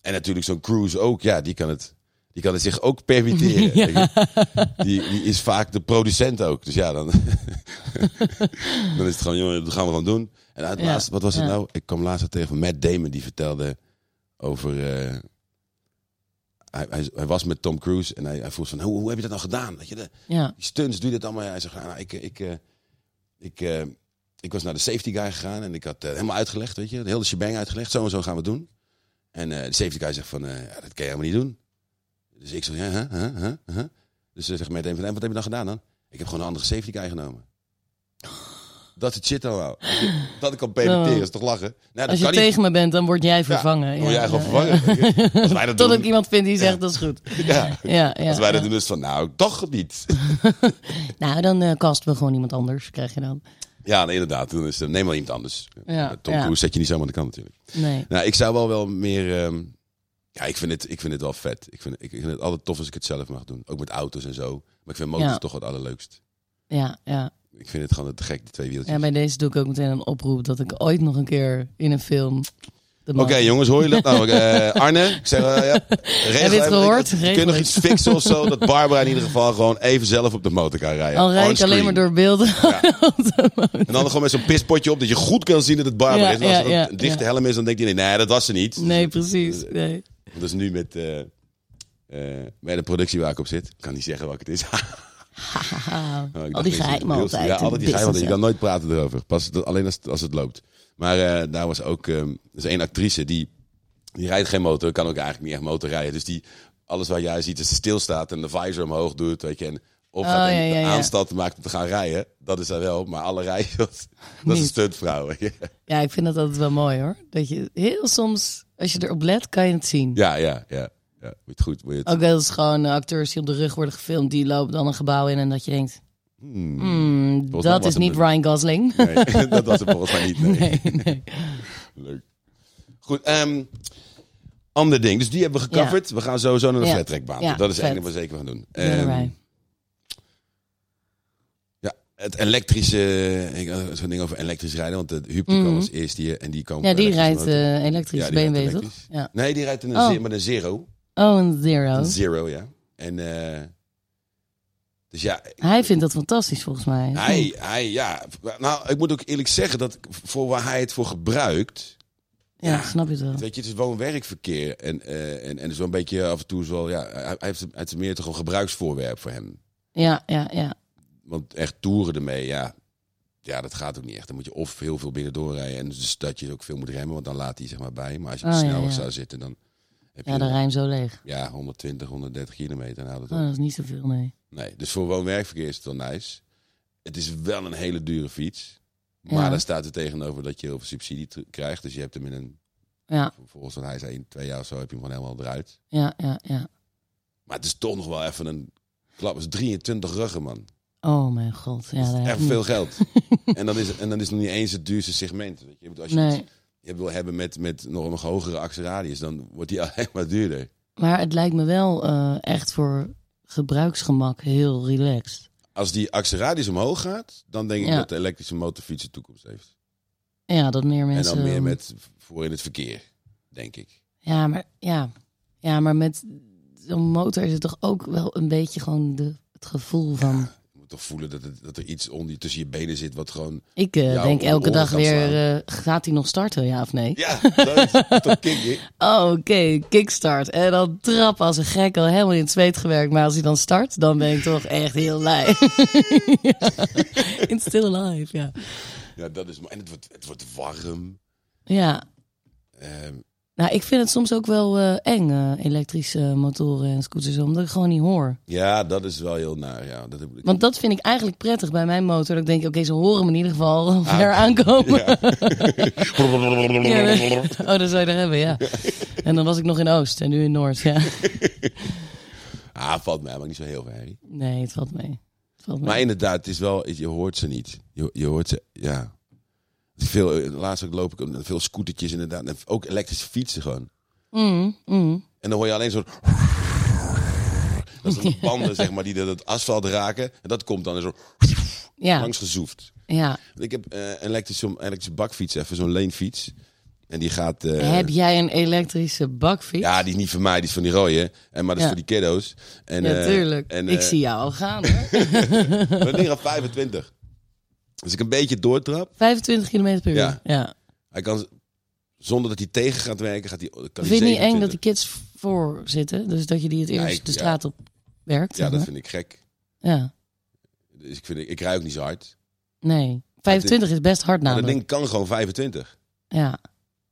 S1: En natuurlijk zo'n Cruise ook, ja, die kan het, die kan het zich ook permitteren.
S2: Ja.
S1: weet je. Die, die is vaak de producent ook. Dus ja, dan, dan is het gewoon, jongen, dat gaan we gewoon doen. En het
S2: Ja,
S1: laatste, wat was het
S2: ja.
S1: nou? Ik kwam laatst tegen van Matt Damon, die vertelde over... eh, hij, hij, hij was met Tom Cruise en hij, hij vroeg van, hoe, hoe heb je dat nou gedaan? Dat je de,
S2: Ja.
S1: die stunts, doe je dat allemaal? Ja, Hij zegt, nou, ik, ik, eh, ik, eh, ik was naar de safety guy gegaan en ik had eh, helemaal uitgelegd, weet je, de hele shebang uitgelegd. Zo en zo gaan we het doen. En eh, de safety guy zegt van, eh, ja, dat kan je helemaal niet doen. Dus ik zeg, ja, hè, hè, hè, hè. Dus ze zegt meteen van, en wat heb je dan gedaan dan? Ik heb gewoon een andere safety guy genomen. Dat is shit allemaal. Dat ik kan permitteren, is toch lachen? Nou, dat
S2: Oh. Als je
S1: kan niet.
S2: tegen me bent, dan word jij vervangen.
S1: dan word jij gewoon
S2: ja, ja.
S1: vervangen, weet je. Als wij dat
S2: Tot
S1: doen-
S2: ik iemand vind die zegt, dat is goed.
S1: Ja.
S2: Ja, ja,
S1: Als wij
S2: ja.
S1: dat doen, dus van, nou, toch niet.
S2: Nou, dan eh casten we gewoon iemand anders, krijg je dan.
S1: Ja, nee, inderdaad. Dan is, er- neem wel iemand anders.
S2: Ja,
S1: Tom
S2: ja.
S1: Cruise zet je niet zomaar aan de kant natuurlijk.
S2: Nee.
S1: Nou, ik zou wel wel meer... ehm, ja, ik vind, het, ik vind het wel vet. Ik vind, ik vind het altijd tof als ik het zelf mag doen. Ook met auto's en zo. Maar ik vind motors
S2: Ja.
S1: toch het allerleukst.
S2: Ja, ja.
S1: Ik vind het gewoon te gek, die twee wieltjes.
S2: ja, bij deze doe ik ook meteen een oproep dat ik ooit nog een keer in een film. de
S1: Oké,
S2: man-
S1: jongens, hoor je dat? Nou, eh, Arne, ik zeg, eh, ja, regel
S2: het
S1: even-
S2: gehoord?
S1: Ik, kun je
S2: Regel
S1: nog
S2: het.
S1: iets fixen of zo? Dat Barbara in ieder geval gewoon even zelf op de motor kan rijden.
S2: Al rijd ik
S1: Onscreen.
S2: alleen maar door beelden.
S1: En dan gewoon met zo'n pispotje op, dat je goed kan zien dat het Barbara
S2: Ja,
S1: is. En als
S2: ja,
S1: het een-
S2: ja,
S1: een dichte
S2: ja.
S1: helm is, dan denkt hij, nee, dat was ze niet.
S2: Nee, precies. Nee.
S1: Dus nu met eh, eh, bij de productie waar ik op zit, Ik kan niet zeggen welke het is.
S2: Haha.
S1: Oh, ik dacht,
S2: al die
S1: dit is
S2: geheimen
S1: heel-
S2: altijd.
S1: Ja, altijd die geheimen. Je
S2: Business,
S1: kan nooit praten erover. Pas dat- alleen als, het- als het loopt. Maar eh, daar was ook ehm, er is één actrice die, die rijdt geen motor, kan ook eigenlijk niet echt motor rijden. Dus die alles waar jij ziet, is ze stilstaat en de visor omhoog doet, weet je, en opgaat
S2: Oh,
S1: en
S2: ja, ja,
S1: de
S2: ja.
S1: aanstad maakt om te gaan rijden. Dat is zij wel, maar alle rijden, dat, dat is een
S2: Niet.
S1: stuntvrouw. weet je.
S2: ja. Ja, ik vind dat altijd wel mooi hoor. Dat je heel soms, als je erop let, kan je het zien.
S1: Ja, ja, ja. ja. Moet je het goed, moet je het-
S2: Ook dat is gewoon eh, acteurs die op de rug worden gefilmd, die lopen dan een gebouw in en dat je denkt, hmm,
S1: mij
S2: dat
S1: was
S2: is
S1: het
S2: niet
S1: een-
S2: Ryan Gosling.
S1: Nee, dat was het volgens mij niet. nee.
S2: Nee, nee.
S1: Leuk. Goed, ehm, ander ding. Dus die hebben we gecoverd. We gaan sowieso naar de
S2: Ja.
S1: vertrekbaan.
S2: Ja,
S1: dat is
S2: vet.
S1: één ding wat we zeker gaan doen.
S2: Ben
S1: Ehm,
S2: erbij.
S1: ja, het elektrische... Ik had zo'n ding over elektrisch rijden. Want de Huub die kwam als eerste hier. En die kwam
S2: Mhm. Ja,
S1: op
S2: die
S1: elektrische
S2: rijdt
S1: motor.
S2: eh, elektrisch,
S1: Ja, die rijdt
S2: BMW toch?
S1: elektrisch.
S2: Ja.
S1: Nee, die rijdt in een
S2: Oh.
S1: ze- met een Zero.
S2: Oh, een zero.
S1: Een Zero, ja. En... eh, dus ja,
S2: Hij vindt dat fantastisch volgens mij.
S1: hij, hij, ja. Nou, ik moet ook eerlijk zeggen dat voor waar hij het voor gebruikt,
S2: Ja, snap je het wel.
S1: Weet je, het is woon-werkverkeer. En, eh, en, en zo'n beetje af en toe is wel... Ja, hij, hij heeft, het is meer toch een gebruiksvoorwerp voor hem.
S2: Ja, ja, ja.
S1: Want echt toeren ermee, ja... Ja, dat gaat ook niet echt. Dan moet je of heel veel binnen doorrijden... en dus dat je ook veel moet remmen, want dan laat hij zeg maar bij. Maar als je op de
S2: Oh, ja,
S1: snelweg
S2: ja.
S1: zou zitten, dan... Heb
S2: Ja,
S1: je-
S2: de rijm zo leeg.
S1: ja, 120, 130 kilometer. Nou, dat
S2: Oh, dat is niet zoveel, nee.
S1: Nee, dus voor woon-werkverkeer is het wel nice. Het is wel een hele dure fiets. Maar
S2: Ja.
S1: daar staat er tegenover dat je heel veel subsidie te- krijgt. Dus je hebt hem in een,
S2: Ja,
S1: volgens wat hij zei, in twee jaar of zo heb je hem gewoon helemaal eruit.
S2: ja, ja, ja.
S1: Maar het is toch nog wel even een klap. Het is 23 ruggen, man.
S2: Oh mijn god. Ja,
S1: dat
S2: daar
S1: is
S2: heb
S1: echt
S2: ik
S1: veel
S2: niet-
S1: geld. en, dan is, en dan is het nog niet eens het duurste segment. Weet je? Ik bedoel, Als je
S2: Nee,
S1: iets je wil hebben met, met nog een nog hogere actieradius, dan wordt die alleen maar duurder.
S2: maar het lijkt me wel eh, echt voor gebruiksgemak heel relaxed.
S1: Als die actieradius omhoog gaat, dan denk ik
S2: Ja.
S1: dat de elektrische motorfiets de toekomst heeft.
S2: Ja, dat meer mensen...
S1: En dan meer met voor in het verkeer, denk ik.
S2: Ja, maar, ja. ja, maar met zo'n motor is het toch ook wel een beetje gewoon de, het gevoel van...
S1: Je moet toch voelen dat, het- dat er iets onder, je- tussen je benen zit wat gewoon...
S2: Ik eh,
S1: Ja,
S2: denk
S1: om-
S2: elke
S1: om
S2: dag
S1: gaan
S2: weer,
S1: slaan.
S2: eh, gaat hij nog starten, ja of nee?
S1: Ja, dat is toch kick, hè?
S2: Oh, oké, kickstart. En dan trap als een gek al helemaal in het zweet gewerkt. Maar als hij dan start, dan ben ik toch echt heel blij. ja. It's still alive, ja.
S1: Ja, dat is... En het wordt, het wordt warm.
S2: Ja,
S1: Ehm,
S2: nou ik vind het soms ook wel eh, eng, eh, elektrische motoren en scooters. Omdat ik het gewoon niet hoor.
S1: ja, dat is wel heel naar. Ja, dat heb ik...
S2: Want dat vind ik eigenlijk prettig bij mijn motor. Dat ik denk, oké, ze horen me in ieder geval
S1: Ah.
S2: ver aankomen.
S1: Ja.
S2: Ja, nee. Oh, dat zou je er hebben, ja. En dan was ik nog in Oost en nu in Noord, ja.
S1: ah, valt mij maar niet zo heel veel herrie.
S2: Nee, het valt mee. Het valt mee.
S1: Maar inderdaad, het is wel, je hoort ze niet. Je, je hoort ze, ja. Veel, eh, laatst ook loop ik om- veel scootertjes inderdaad. En ook elektrische fietsen gewoon.
S2: Mm, mm.
S1: En dan hoor je alleen zo'n... Dat zijn de banden, zeg maar, die dat het asfalt raken. En dat komt dan zo
S2: Ja,
S1: langs gezoefd.
S2: ja.
S1: Ik heb eh, een elektrische, een elektrische bakfiets, even zo'n leenfiets. En die gaat... eh,
S2: Heb jij een elektrische bakfiets?
S1: ja, die is niet van mij, die is van die rode. En, maar dat is
S2: Ja.
S1: voor die kiddo's. En, eh,
S2: Natuurlijk.
S1: en,
S2: ik
S1: eh,
S2: zie jou al gaan. Hoor.
S1: Maar die gaat 25. Als ik een beetje doortrap,
S2: 25 km per uur.
S1: Ja.
S2: Ja.
S1: Hij kan, z- zonder dat hij tegen gaat werken, gaat hij. Kan
S2: Vind je
S1: hij
S2: niet eng
S1: 27.
S2: dat die kids voor zitten? Dus dat je die het
S1: Ja,
S2: eerst
S1: ik-
S2: de
S1: ja.
S2: straat op werkt?
S1: Ja,
S2: zeg
S1: dat
S2: maar?
S1: vind ik gek.
S2: ja.
S1: Dus ik, vind, ik rij ook niet zo hard.
S2: Nee. 25 is best hard
S1: Maar dat
S2: namelijk.
S1: ding kan gewoon 25.
S2: Ja. En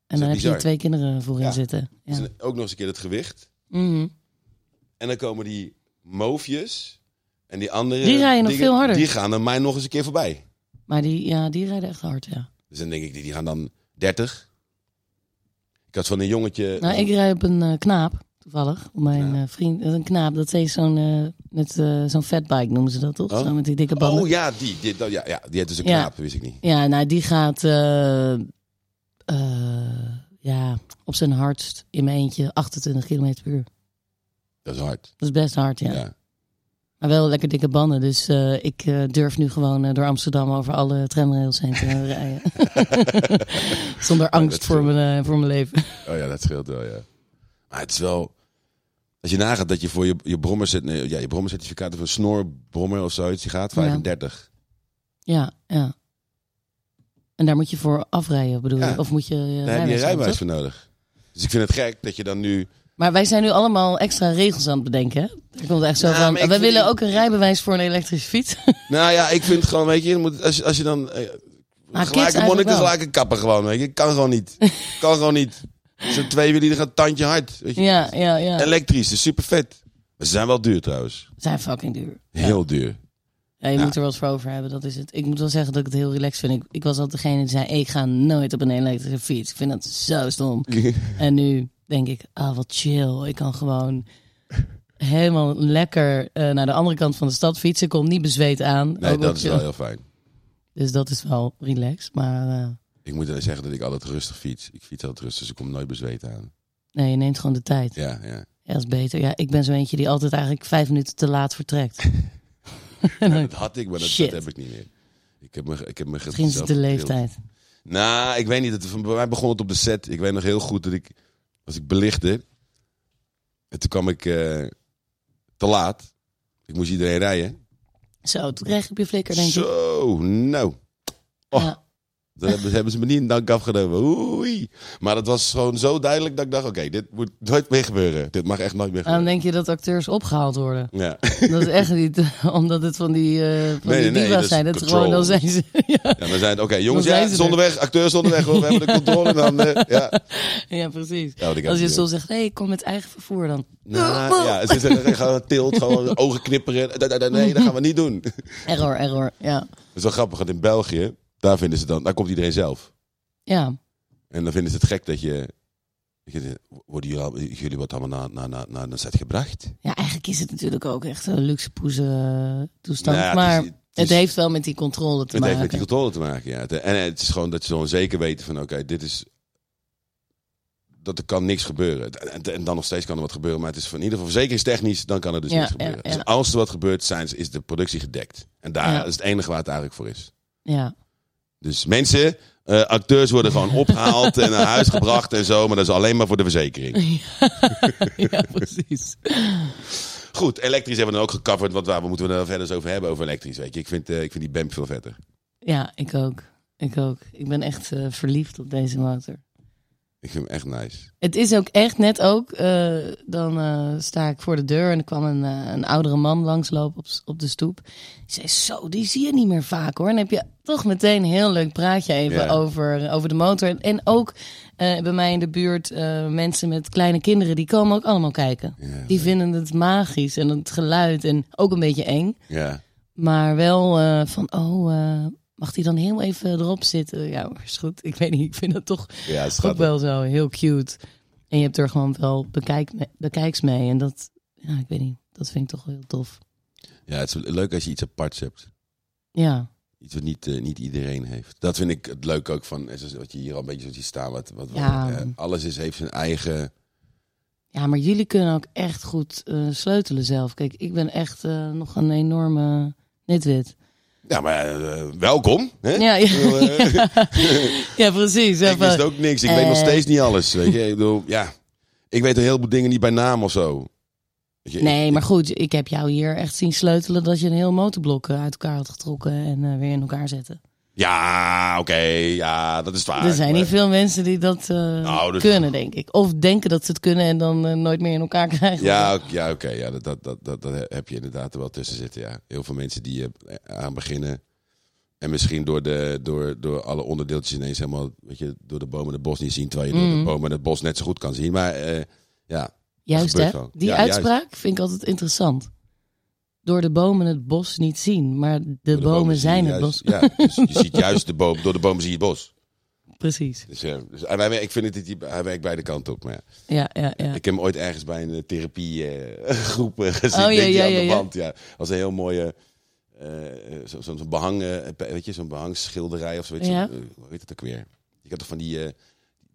S1: dat
S2: dan heb je
S1: bizar?
S2: twee kinderen voorin
S1: Ja.
S2: zitten. Ja.
S1: Dus dan ook nog eens een keer dat gewicht.
S2: Mhm.
S1: En dan komen die moofjes. En die andere.
S2: Die rijden nog veel harder.
S1: Die gaan dan mij nog eens een keer voorbij.
S2: Maar die, ja, die rijden echt hard, ja.
S1: Dus dan denk ik, die die gaan dan 30. Ik had van een jongetje.
S2: Nou, ik rij op een eh, knaap, toevallig. Op Mijn
S1: Knaap.
S2: eh, vriend, een knaap, dat is zo'n eh, met eh, zo'n fatbike noemen ze dat toch?
S1: Oh.
S2: Zo met die dikke banden.
S1: Oh ja, die. die dat- ja, ja, die heeft dus een
S2: Ja.
S1: knaap, dat wist ik niet.
S2: Ja, nou, die gaat eh, eh, ja, op zijn hardst in mijn eentje 28 km per uur.
S1: Dat is hard.
S2: Dat is best hard, ja.
S1: Ja.
S2: Maar wel lekker dikke banden. Dus eh, ik eh, durf nu gewoon eh, door Amsterdam over alle tramrails heen te rijden. Zonder
S1: Oh,
S2: angst
S1: dat
S2: voor mijn, eh, voor mijn leven.
S1: Oh ja, dat scheelt wel, ja. Maar het is wel... Als je nagaat dat je voor je, je brommercert- nee, ja, je brommercertificaat of een snorbrommer of zoiets, die gaat 35.
S2: Ja, ja. En daar moet je voor afrijden, bedoel je?
S1: Ja.
S2: Of moet je
S1: Daar
S2: je
S1: heb je een
S2: hebben,
S1: rijbewijs
S2: toch?
S1: voor nodig. Dus ik vind het gek dat je dan nu...
S2: Maar wij zijn nu allemaal extra regels aan het bedenken. hè? Er komt echt zo
S1: Ja,
S2: van,
S1: Nou, maar ik
S2: we
S1: vind
S2: willen
S1: die-
S2: ook een rijbewijs voor een elektrische fiets.
S1: Nou ja, ik vind gewoon, weet je, je moet, als, je- als je dan... Eh,
S2: Maar kids
S1: gelijke monnik,
S2: eigenlijk
S1: dan
S2: wel.
S1: gelijke kapper gewoon, weet je. Kan gewoon niet. kan gewoon niet. Zo'n tweewiel, die gaat tandje hard. Weet je.
S2: Ja, ja, ja.
S1: Elektrisch, dus super vet. Maar ze zijn wel duur trouwens.
S2: zijn fucking duur.
S1: Heel duur.
S2: Ja, je
S1: Ja.
S2: moet er wat voor over hebben, dat is het. Ik moet wel zeggen dat ik het heel relaxed vind. Ik, ik was altijd degene die zei, ik ga nooit op een elektrische fiets. Ik vind dat zo stom. en nu denk ik, ah wat chill. Ik kan gewoon helemaal lekker eh, naar de andere kant van de stad fietsen. Kom niet bezweet aan.
S1: Nee, dat
S2: Ook wel
S1: is
S2: chill.
S1: wel heel fijn.
S2: Dus dat is wel relaxed. Maar eh,
S1: Ik moet alleen zeggen dat ik altijd rustig fiets. Ik fiets altijd rustig, dus ik kom nooit bezweet aan.
S2: nee, je neemt gewoon de tijd.
S1: Ja, ja.
S2: Ja, dat is beter. Ja, ik ben zo eentje die altijd eigenlijk vijf minuten te laat vertrekt. En dan-
S1: Dat had ik, maar dat, dat
S2: Shit.
S1: heb ik niet meer. Ik heb me, ik heb me
S2: Misschien is het de leeftijd.
S1: Nou, ik weet niet. Het, van- bij mij begon het op de set. Ik weet nog heel goed dat ik, als ik belichtte, en toen kwam ik eh, te laat. Ik moest iedereen rijden.
S2: Zo, toen kreeg ik op je flikker, denk ik.
S1: Zo, nou. Oh,
S2: Ja.
S1: Dat hebben, hebben ze me niet in dank afgenomen. Oei. Maar dat was gewoon zo duidelijk dat ik dacht: oké, dit moet nooit meer gebeuren. Dit mag echt nooit meer
S2: En dan
S1: gebeuren.
S2: denk je dat acteurs opgehaald worden.
S1: Ja.
S2: Dat is echt niet omdat het van die, eh van
S1: Nee,
S2: die
S1: nee, nee,
S2: divas
S1: dat is
S2: zijn. Dat is
S1: control.
S2: gewoon, dan zijn ze... ja,
S1: ja, we zijn oké, jongens,
S2: Dan
S1: ja,
S2: zijn ze
S1: is onderweg, acteurs onderweg, hoor. we hebben de controle in handen. Ja.
S2: ja, precies.
S1: Ja, want ik heb
S2: Als je
S1: het
S2: soms zegt, nee, ik kom met eigen vervoer dan.
S1: Nou, ja, ze zeggen gewoon tilt, gewoon ogen knipperen. Da- da- da- Nee, dat gaan we niet doen. Het
S2: Error, error, ja.
S1: is wel grappig, want in België, daar vinden ze dan, daar komt iedereen zelf.
S2: Ja,
S1: En dan vinden ze het gek dat je, dat je- worden jullie, al- jullie wat allemaal naar, naar, naar, naar de set gebracht?
S2: ja eigenlijk is het natuurlijk ook echt een luxe poeze eh, toestand.
S1: Nou ja,
S2: maar
S1: het
S2: het,
S1: is- het is-
S2: heeft wel met die controle te
S1: Het heeft
S2: maken.
S1: met die controle te maken, ja. Het- En het is gewoon dat ze gewoon zeker weten van, oké, dit is... Dat er kan niks gebeuren. En, en dan nog steeds kan er wat gebeuren. Maar het is van in ieder geval verzekeringstechnisch, dan kan er dus
S2: Ja,
S1: niks
S2: ja,
S1: gebeuren.
S2: ja.
S1: Dus als er wat gebeurt, zijn, ze- is de productie gedekt. En daar
S2: Ja.
S1: is het enige waar het eigenlijk voor is.
S2: Ja,
S1: Dus mensen, eh, acteurs worden gewoon opgehaald en naar huis gebracht en zo. Maar dat is alleen maar voor de verzekering.
S2: ja precies.
S1: Goed, elektrisch hebben we dan ook gecoverd. Want waar moeten we er verder eens over hebben over elektrisch? Weet je, ik vind, eh, ik vind die BEM veel vetter.
S2: Ja, ik ook. Ik ook. Ik ben echt eh, verliefd op deze motor.
S1: Ik vind hem echt nice.
S2: Het is ook echt net ook, eh, dan eh, sta ik voor de deur en er kwam een, eh, een oudere man langslopen op, s- op de stoep. Die zei, zo, die zie je niet meer vaak hoor. En dan heb je toch meteen een heel leuk praatje even
S1: Ja.
S2: over, over de motor. En, en ook eh, bij mij in de buurt, eh, mensen met kleine kinderen, die komen ook allemaal kijken.
S1: Ja,
S2: Die vinden het magisch en het geluid en ook een beetje eng.
S1: ja.
S2: Maar wel eh, van, oh, eh, mag die dan heel even erop zitten? Ja, hoor, is goed. Ik weet niet, ik vind dat toch
S1: ja
S2: ook
S1: schat.
S2: wel zo heel cute. En je hebt er gewoon wel bekijk me- bekijks mee. En dat, ja, ik weet niet, dat vind ik toch wel heel tof.
S1: Ja, het is leuk als je iets aparts hebt.
S2: Ja,
S1: Iets wat niet, eh, niet iedereen heeft. Dat vind ik het leuk ook van, eh, zoals wat je hier al een beetje zo ziet staan. Wat, wat, wat,
S2: Ja.
S1: eh, alles is, heeft zijn eigen...
S2: ja maar jullie kunnen ook echt goed eh, sleutelen zelf. Kijk, ik ben echt eh, nog een enorme nitwit.
S1: Ja, maar eh, welkom. Hè?
S2: Ja,
S1: Ik bedoel,
S2: ja,
S1: eh,
S2: ja precies.
S1: Ik wist ook niks. Ik weet nog
S2: Eh.
S1: steeds niet alles. Weet je? Ik bedoel, ja. Ik weet een heleboel dingen niet bij naam of zo. Weet je,
S2: Nee,
S1: ik-
S2: maar goed, ik heb jou hier echt zien sleutelen dat je een heel motorblok eh, uit elkaar had getrokken en eh, weer in elkaar zetten.
S1: Ja, oké. ja, dat is waar.
S2: er zijn
S1: Maar-
S2: niet veel mensen die dat eh,
S1: Nou, dus-
S2: kunnen, denk ik. Of denken dat ze het kunnen en dan eh, nooit meer in elkaar krijgen.
S1: Ja, ook- ja oké. ja, dat, dat, dat, dat, dat heb je inderdaad er wel tussen zitten. Ja. Heel veel mensen die eh, aan beginnen. En misschien door, de, door, door alle onderdeeltjes ineens helemaal weet je, door de bomen het bos niet zien. Terwijl je door de
S2: Mm.
S1: bomen het bos net zo goed kan zien. Maar eh, ja,
S2: Juist,
S1: Dat
S2: hè?
S1: gebeurt wel.
S2: Die
S1: Ja,
S2: uitspraak vind ik altijd interessant. Door de bomen het bos niet zien, maar de,
S1: door de
S2: bomen,
S1: zie je
S2: zijn het bos.
S1: juist- Ja, dus je ziet juist de boom. Door de bomen zie je het bos.
S2: Precies.
S1: Dus, eh, dus hij, werkt- ik vind het, dat hij- hij werkt beide kanten op. Maar ja.
S2: Ja, ja, ja.
S1: Ik heb hem ooit ergens bij een eh, therapiegroep eh, gezien.
S2: Oh,
S1: denk
S2: ja,
S1: ik,
S2: ja,
S1: aan
S2: ja,
S1: de
S2: ja.
S1: wand. Ja. Als een heel mooie. eh, eh, zo- Zo'n zo'n behang, eh, pe- weet je, zo'n behangschilderij of zo. Weet je,
S2: Ja.
S1: zo'n, eh, hoe heet het ook weer? Je had toch van die, eh,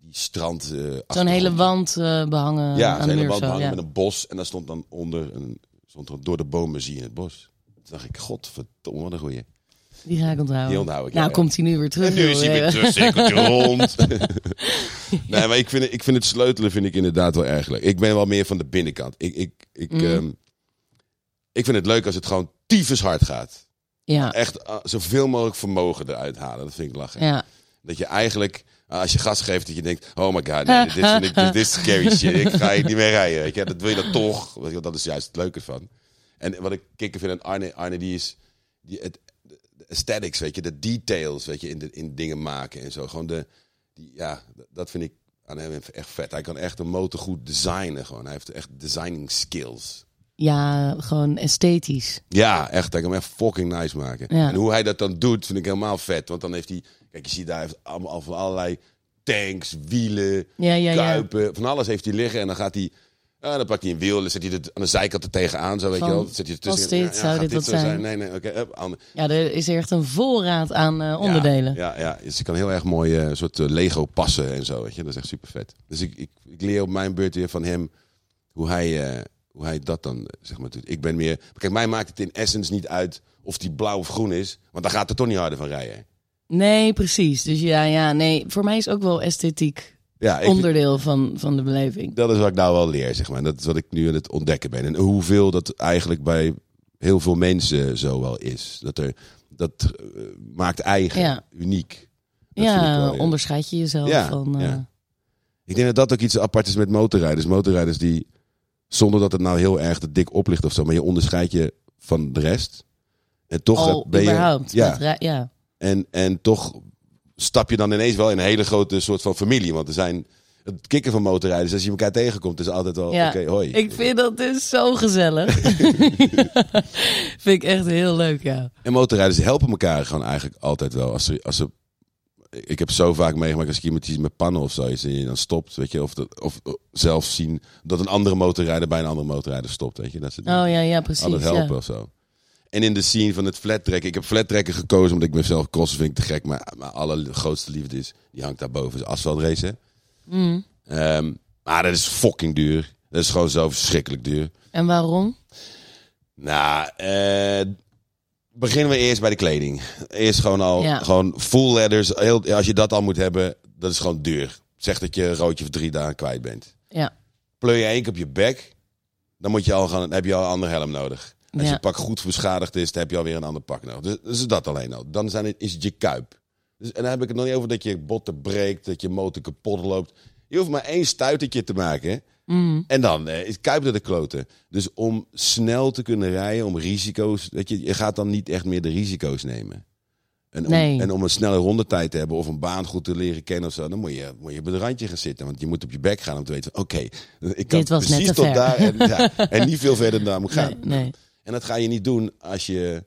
S1: die strand. eh,
S2: Zo'n
S1: achtergrond.
S2: hele wand eh, behangen
S1: Ja,
S2: aan
S1: zo'n
S2: de
S1: hele
S2: muur.
S1: wand
S2: Zo,
S1: behangen
S2: ja.
S1: met een bos. En daar stond dan onder, een, stond er door de bomen zie je het bos. Toen dacht ik, godverdomme, wat een goeie.
S2: Die ga ik onthouden.
S1: Die onthoud ik, ja,
S2: nou,
S1: ja.
S2: komt hij nu weer terug.
S1: En nu is
S2: joh.
S1: hij weer terug, cirkeltje rond. nee, maar ik vind, het- ik vind het sleutelen vind ik inderdaad wel erg leuk. Ik ben wel meer van de binnenkant. Ik, ik, ik,
S2: Mm.
S1: ehm, ik vind het leuk als het gewoon tyfus hard gaat.
S2: Ja,
S1: Echt ah, zoveel mogelijk vermogen eruit halen. Dat vind ik lachen.
S2: ja.
S1: Dat je eigenlijk, ah, als je gas geeft, dat je denkt... Oh my god, nee, dit, vind ik- dit is scary shit. Ik ga hier niet meer rijden. Weet je? Dat wil je dan toch. Weet je, dat is juist het leuke van. En wat ik kikker vind aan Arne, Arne die is... Die, het, de aesthetics, weet je, de details, weet je, in, de, in dingen maken en zo. Gewoon de, die, ja, d- dat vind ik aan hem echt vet. Hij kan echt een motor goed designen gewoon. Hij heeft echt designing skills.
S2: ja, gewoon esthetisch.
S1: Ja, echt. Hij kan hem echt fucking nice maken.
S2: Ja.
S1: En hoe hij dat dan doet, vind ik helemaal vet. Want dan heeft hij, kijk, je ziet daar hij heeft allemaal al van allerlei tanks, wielen,
S2: Ja, ja, ja.
S1: kuipen, van alles heeft hij liggen. En dan gaat hij, ah, dan pakt hij een wiel, dan zet hij het aan de zijkant er tegenaan, zo weet
S2: Van,
S1: je wel. Dan Zet hij er
S2: als
S1: tussen.
S2: dit zou
S1: gaat
S2: dit wat
S1: zo
S2: zijn?
S1: Nee, nee, oké, hup, ander.
S2: Ja, er is echt een voorraad aan eh, onderdelen. Ja,
S1: Ja, ja, ja. ze kan heel erg mooi eh, soort eh, Lego passen en zo. Weet je? Dat is echt super vet. Dus ik, ik, ik leer op mijn beurt weer van hem hoe hij, eh, hoe hij dat dan eh, zeg maar doet. Ik ben meer. Kijk, mij maakt het in essence niet uit of die blauw of groen is, want daar gaat er toch niet harder van rijden.
S2: Nee, precies. Dus ja, ja, nee. Voor mij is ook wel esthetiek
S1: Ja, ik,
S2: onderdeel van, van de beleving.
S1: dat is wat ik nou wel leer, zeg maar. Dat is wat ik nu aan het ontdekken ben. En hoeveel dat eigenlijk bij heel veel mensen zo wel is. Dat, er, dat eh, maakt eigen,
S2: Ja.
S1: uniek. Dat vind ik
S2: ja,
S1: wel, ja.
S2: onderscheid je jezelf
S1: Ja,
S2: van... eh,
S1: ja. Ik denk dat dat ook iets apart is met motorrijders. Motorrijders die, zonder dat het nou heel erg te dik op ligt of zo, maar je onderscheidt je van de rest. En toch
S2: al
S1: ben je.
S2: überhaupt.
S1: ja,
S2: met ra- ja.
S1: en, en toch stap je dan ineens wel in een hele grote soort van familie. Want er zijn. Het kicken van motorrijders, als je elkaar tegenkomt, is altijd wel.
S2: Ja.
S1: Oké, hoi.
S2: Ik vind dat dus zo gezellig. vind ik echt heel leuk, ja.
S1: En motorrijders helpen elkaar gewoon eigenlijk altijd wel. Als ze, als ze, ik heb zo vaak meegemaakt als ik iemand iets met pannen of zoiets en je dan stopt, weet je, of, dat- of of zelf zien dat een andere motorrijder bij een andere motorrijder stopt, weet je. Dat ze
S2: Oh ja, ja, precies.
S1: alles helpen
S2: ja.
S1: of zo. En in de scene van het flattrekken. Ik heb flattrekken gekozen omdat ik mezelf crossen vind ik te gek. Maar mijn allergrootste liefde is, die hangt daarboven, is asfaltracen.
S2: Mm.
S1: Ehm, maar dat is fucking duur. Dat is gewoon zo verschrikkelijk duur.
S2: En waarom?
S1: Nou, eh, beginnen we eerst bij de kleding. Eerst gewoon al,
S2: Ja.
S1: gewoon full letters. Heel, als je dat al moet hebben, dat is gewoon duur. Zeg dat je een roodje of drie dagen kwijt bent.
S2: Ja.
S1: Pleur je één keer op je bek, dan moet je al gaan, dan heb je al een ander helm nodig. Als
S2: Ja.
S1: je pak goed beschadigd is, dan heb je alweer een ander pak nodig. Dus, dus dat alleen al. Dan zijn het, is het je kuip. Dus, en dan heb ik het nog niet over dat je botten breekt, dat je motor kapot loopt. Je hoeft maar één stuitertje te maken. hè. En dan eh, is Kuip naar de kloten. Dus om snel te kunnen rijden, om risico's... Weet je, je gaat dan niet echt meer de risico's nemen. En om,
S2: Nee.
S1: en om een snelle rondetijd te hebben of een baan goed te leren kennen of zo... dan moet je, moet je op het randje gaan zitten. Want je moet op je bek gaan om te weten... van, oké, ik kan
S2: Dit was net
S1: precies
S2: te
S1: tot
S2: ver.
S1: daar en, ja, en niet veel verder dan daar moet gaan.
S2: Nee, nee.
S1: En dat ga je niet doen als je...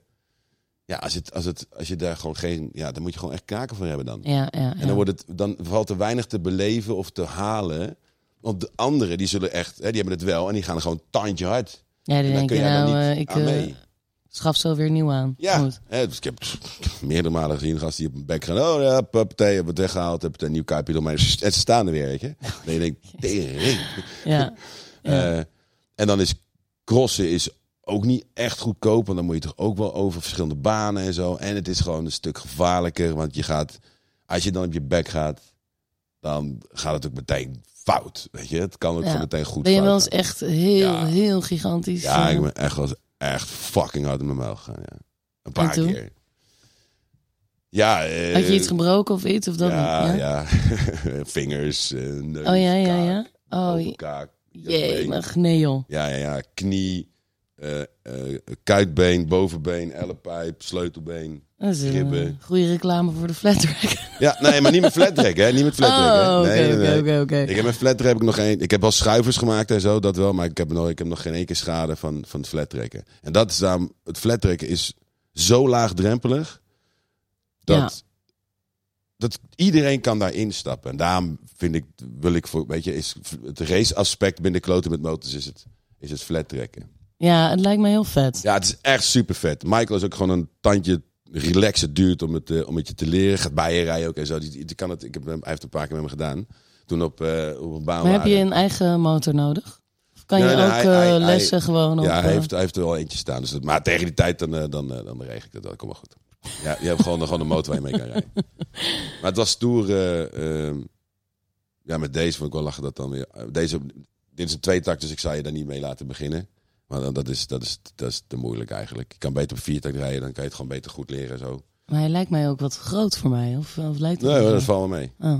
S1: Ja, als, het, als, het, als je daar gewoon geen... Ja, dan moet je gewoon echt kaken voor hebben dan.
S2: Ja, ja,
S1: En
S2: ja.
S1: dan, wordt het, dan valt er weinig te beleven of te halen. Want de anderen, die zullen echt, hè, die hebben het wel en die gaan er gewoon tandje hard.
S2: Ja,
S1: En
S2: die
S1: dan
S2: denken,
S1: kun jij
S2: nou,
S1: dan
S2: eh,
S1: niet
S2: ik
S1: aan
S2: eh,
S1: mee.
S2: schaf zo weer nieuw aan.
S1: Ja,
S2: Goed.
S1: hè, dus ik heb pff, meerdere malen gezien gasten die op mijn bek gaan. Oh ja, puppatee, hebben het weggehaald, hebben het een nieuw kuipje door mij. En ze staan er weer, weet je. Dan je denkt, tering.
S2: Ja.
S1: Eh, en dan is crossen is ook niet echt goedkoop. Want dan moet je toch ook wel over verschillende banen en zo. En het is gewoon een stuk gevaarlijker. Want je gaat, als je dan op je bek gaat, dan gaat het ook meteen fout. Weet je, het kan ook
S2: Ja.
S1: gewoon meteen goed
S2: Ben je
S1: fout
S2: wel eens
S1: gaan.
S2: echt heel,
S1: Ja.
S2: heel gigantisch?
S1: Ja,
S2: eh,
S1: ik ben echt, wel eens echt fucking hard in mijn muil gegaan. Ja. Een paar
S2: toen?
S1: keer. Ja, eh,
S2: Had je iets gebroken of iets? Of dat
S1: ja,
S2: niet?
S1: ja. Vingers, eh, neus,
S2: Oh ja, ja,
S1: kaak,
S2: ja. Oh,
S1: ogen,
S2: je-
S1: kaak, been.
S2: jemig. Nee joh.
S1: Ja, ja, ja. Knie, eh, eh, kuitbeen, bovenbeen, ellepijp, sleutelbeen.
S2: Dat is een
S1: Ribben.
S2: eh, goede reclame voor de flatrack.
S1: Ja, nee, maar niet met flatrek, hè? Niet met flatrek, hè?
S2: Oh,
S1: Nee,
S2: oké,
S1: nee,
S2: oké,
S1: nee.
S2: oké,
S1: Ik
S2: oké.
S1: heb met flatrek heb ik nog geen... Ik heb wel schuivers gemaakt en zo, dat wel. Maar ik heb nog, ik heb nog geen één keer schade van, van het flattrekken. En dat is daarom... Het flattrekken is zo laagdrempelig... dat,
S2: Ja.
S1: dat iedereen kan daar instappen. En daarom vind ik, wil ik voor... Weet je, is het race aspect binnen kloten met motors is het, is het flattrekken.
S2: Ja, het lijkt me heel vet.
S1: Ja, het is echt super vet. Michael is ook gewoon een tandje relaxer duurt om het, eh, om het je te leren. Gaat bij je rijden ook en zo. Die, die kan het, ik heb, hem- hij heeft het een paar keer met me gedaan. Toen op, eh, op een baan
S2: Maar heb
S1: waren.
S2: je een eigen motor nodig? Of kan
S1: Ja,
S2: je
S1: nee,
S2: ook
S1: hij-
S2: eh,
S1: hij-
S2: lessen gewoon op...
S1: Ja, hij
S2: eh,
S1: heeft, hij heeft er wel eentje staan. Dus dat, maar tegen die tijd dan, eh, dan, eh, dan regel ik dat wel. Kom maar goed. Ja, je hebt gewoon, gewoon een motor waar je mee kan rijden. Maar het was stoer. eh, ehm, ja, met deze vond ik wel lachen dat dan weer. eh, Deze, dit is een tweetakt, dus ik zou je daar niet mee laten beginnen. Maar dan, dat, is, dat, is, dat is te moeilijk eigenlijk. Je kan beter op viertakt rijden, dan kan je het gewoon beter goed leren en zo.
S2: Maar hij lijkt mij ook wat groot voor mij. Of, of lijkt het
S1: Nee,
S2: niet
S1: hoor, dat
S2: zo?
S1: valt wel mee.
S2: Oh.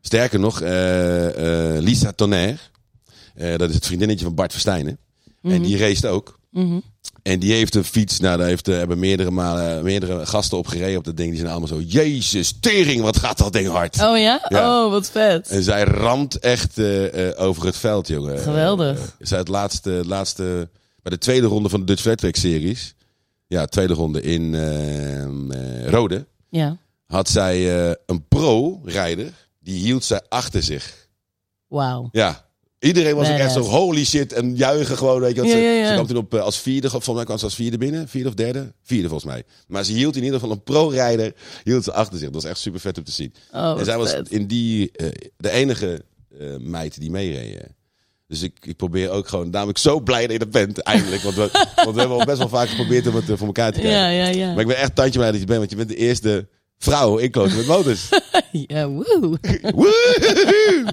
S1: Sterker nog, eh, eh, Lisa Tonnerre, eh, dat is het vriendinnetje van Bart Verstijnen. En die race ook.
S2: Mhm.
S1: En die heeft een fiets. Nou, daar heeft, eh, hebben meerdere, malen, eh, meerdere gasten op gereden op dat ding. Die zijn allemaal zo, jezus, tering, wat gaat dat ding hard.
S2: Oh ja?
S1: Ja. Eh.
S2: Oh, wat vet.
S1: En zij ramt echt eh, eh, over het veld, jongen.
S2: Geweldig.
S1: Eh, eh, zij het laatste, laatste, bij de tweede ronde van de Dutch Flat Track Series. Ja, tweede ronde in eh, eh, Rode.
S2: Ja.
S1: Had zij eh, een pro-rijder. Die hield zij achter zich.
S2: Wauw.
S1: Ja. Iedereen was ook echt zo
S2: Badass.
S1: holy shit en juichen gewoon. Weet je, want
S2: Ja,
S1: ze,
S2: ja, ja.
S1: ze kwam toen op eh, als vierde, volgens mij kwam ze als vierde binnen. Vierde of derde? Vierde volgens mij. Maar ze hield in ieder geval een pro-rijder, hield ze achter zich. Dat was echt super vet om te zien.
S2: Oh,
S1: en zij
S2: wat
S1: was
S2: vet.
S1: in die, eh, de enige eh, meid die meereed. eh. Dus ik, ik probeer ook gewoon, namelijk zo blij dat je er bent eindelijk. Want we, want we hebben al best wel vaak geprobeerd om het eh, voor elkaar te krijgen.
S2: Ja, ja, ja.
S1: Maar ik ben echt tandje blij dat je bent, want je bent de eerste Vrouwen in kloten met motors.
S2: Ja, woe.
S1: Woehoe!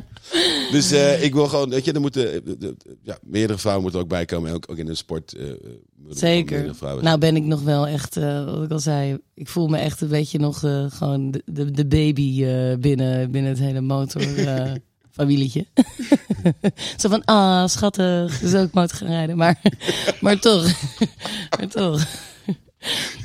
S1: dus eh, ik wil gewoon, weet je, er moeten eh, de- de- ja, meerdere vrouwen moeten ook bijkomen. en Ook, ook in de sport. eh, moeten er
S2: Zeker.
S1: meerdere vrouwen zijn.
S2: Nou ben ik nog wel echt, eh, wat ik al zei, ik voel me echt een beetje nog eh, gewoon de, de, de baby eh, binnen, binnen het hele motorfamilietje. familietje. Zo van, ah, schattig, dus ook motor gaan rijden. Maar, maar toch, maar toch.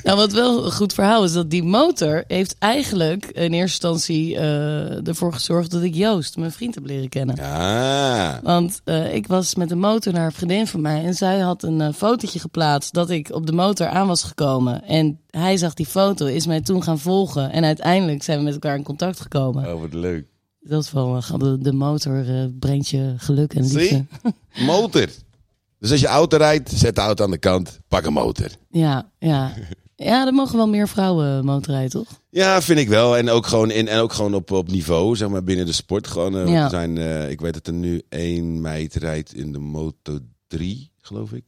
S2: Nou, wat wel een goed verhaal is, dat die motor heeft eigenlijk in eerste instantie eh, ervoor gezorgd dat ik Joost, mijn vriend, heb leren kennen.
S1: Ah,
S2: Want eh, ik was met de motor naar een vriendin van mij. En zij had een eh, fotootje geplaatst dat ik op de motor aan was gekomen. En hij zag die foto, is mij toen gaan volgen. En uiteindelijk zijn we met elkaar in contact gekomen.
S1: oh, wat leuk.
S2: Dat is wel eh, grappig. De motor eh, brengt je geluk en liefde.
S1: Zie? Motor. Dus als je auto rijdt, zet de auto aan de kant, pak een motor.
S2: Ja, ja. Ja, er mogen wel meer vrouwen eh, motorrijden, toch?
S1: Ja, vind ik wel. En ook gewoon, in, en ook gewoon op, op niveau, zeg maar, binnen de sport. Gewoon, eh, want
S2: Ja.
S1: er zijn, eh, ik weet dat er nu één meid rijdt in de Moto 3, geloof ik.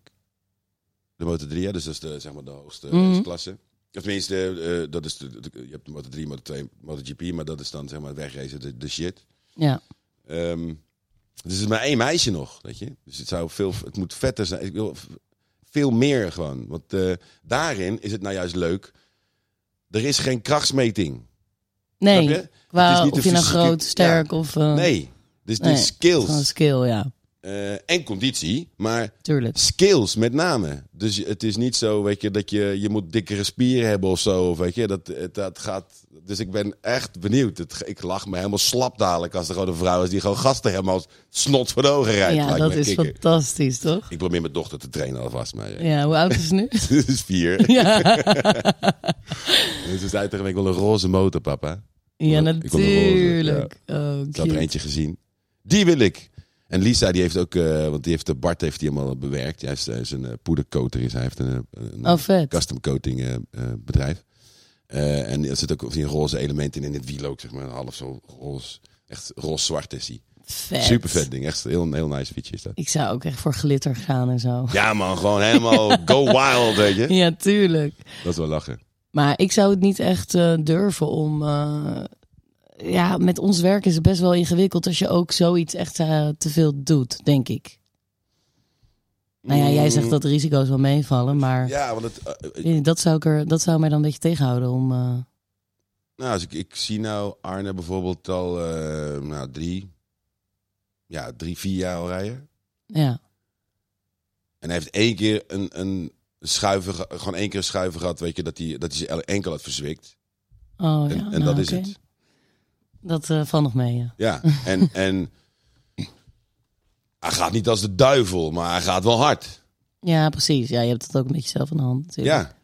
S1: De Moto 3, ja, dus dat is de, zeg maar, de hoogste
S2: Mhm.
S1: hoogste klasse. Of tenminste, eh, dat is de, de- je hebt de Moto 3, Moto 2, Moto GP, maar dat is dan zeg maar wegrezen, de, de shit.
S2: Ja.
S1: Ehm, dus er is maar één meisje nog, weet je. Dus het, zou veel, het moet vetter zijn. Ik wil v- veel meer gewoon. Want eh, daarin is het nou juist leuk. Er is geen krachtsmeting.
S2: Nee,
S1: Snap je? Het is
S2: qua
S1: niet
S2: of
S1: de
S2: je nou
S1: fysieke-
S2: groot, sterk of... eh,
S1: Nee, dus die
S2: nee,
S1: skills
S2: Gewoon skill, ja.
S1: eh, en conditie, maar
S2: Tuurlijk.
S1: skills met name. Dus je- het is niet zo, weet je, dat je, je moet dikkere spieren hebben of zo, of weet je, dat, het- dat gaat... Dus ik ben echt benieuwd. Het, ik lach me helemaal slap dadelijk als er gewoon een vrouw is die gewoon gasten helemaal als snot voor de ogen rijdt.
S2: Ja,
S1: lijkt
S2: dat
S1: me
S2: is
S1: kicken.
S2: fantastisch, toch?
S1: Ik probeer mijn dochter te trainen alvast, maar eh,
S2: Ja, hoe oud is ze nu?
S1: ze is vier.
S2: ja.
S1: Dus ze zei tegen me, ik wil een roze motor, papa.
S2: Ja,
S1: Ik wil een roze,
S2: natuurlijk. Oh,
S1: Ik had er
S2: cute.
S1: eentje gezien. Die wil ik. En Lisa, die heeft ook, eh, want die heeft, de Bart heeft die allemaal bewerkt. Hij is, hij is een eh, poedercoater, is. hij heeft een, eh, een
S2: Oh, vet.
S1: custom coating eh, eh, bedrijf. Eh, en er zit ook van die roze elementen in, in het wiel ook, zeg maar. Half zo roze, echt roze-zwart is die.
S2: Vet.
S1: Super vet ding, echt een heel, heel nice fietsje is dat.
S2: Ik zou ook echt voor glitter gaan en zo.
S1: Ja man, gewoon helemaal go wild, weet je.
S2: Ja, tuurlijk.
S1: Dat is wel lachen.
S2: Maar ik zou het niet echt eh, durven om... eh, ja, met ons werk is het best wel ingewikkeld als je ook zoiets echt eh, te veel doet, denk ik. Nou ja, jij zegt dat de risico's wel meevallen, maar
S1: Mm. Ja, want het, eh, eh,
S2: eh, dat, zou ik er, dat zou mij dan een beetje tegenhouden om... eh,
S1: Nou, als ik, ik zie nou Arne bijvoorbeeld al eh, nou, drie, ja, drie, vier jaar al rijden.
S2: ja,
S1: En hij heeft één keer een, een schuiven, ge- gewoon één keer een schuiven gehad, weet je, dat hij, dat hij zijn enkel had verzwikt.
S2: oh ja.
S1: En, en
S2: nou,
S1: dat is
S2: oké.
S1: het.
S2: Dat eh, valt nog mee, ja.
S1: Ja, en, en hij gaat niet als de duivel, maar hij gaat wel hard.
S2: Ja, precies. Ja, je hebt het ook een beetje zelf in de hand natuurlijk.
S1: Ja.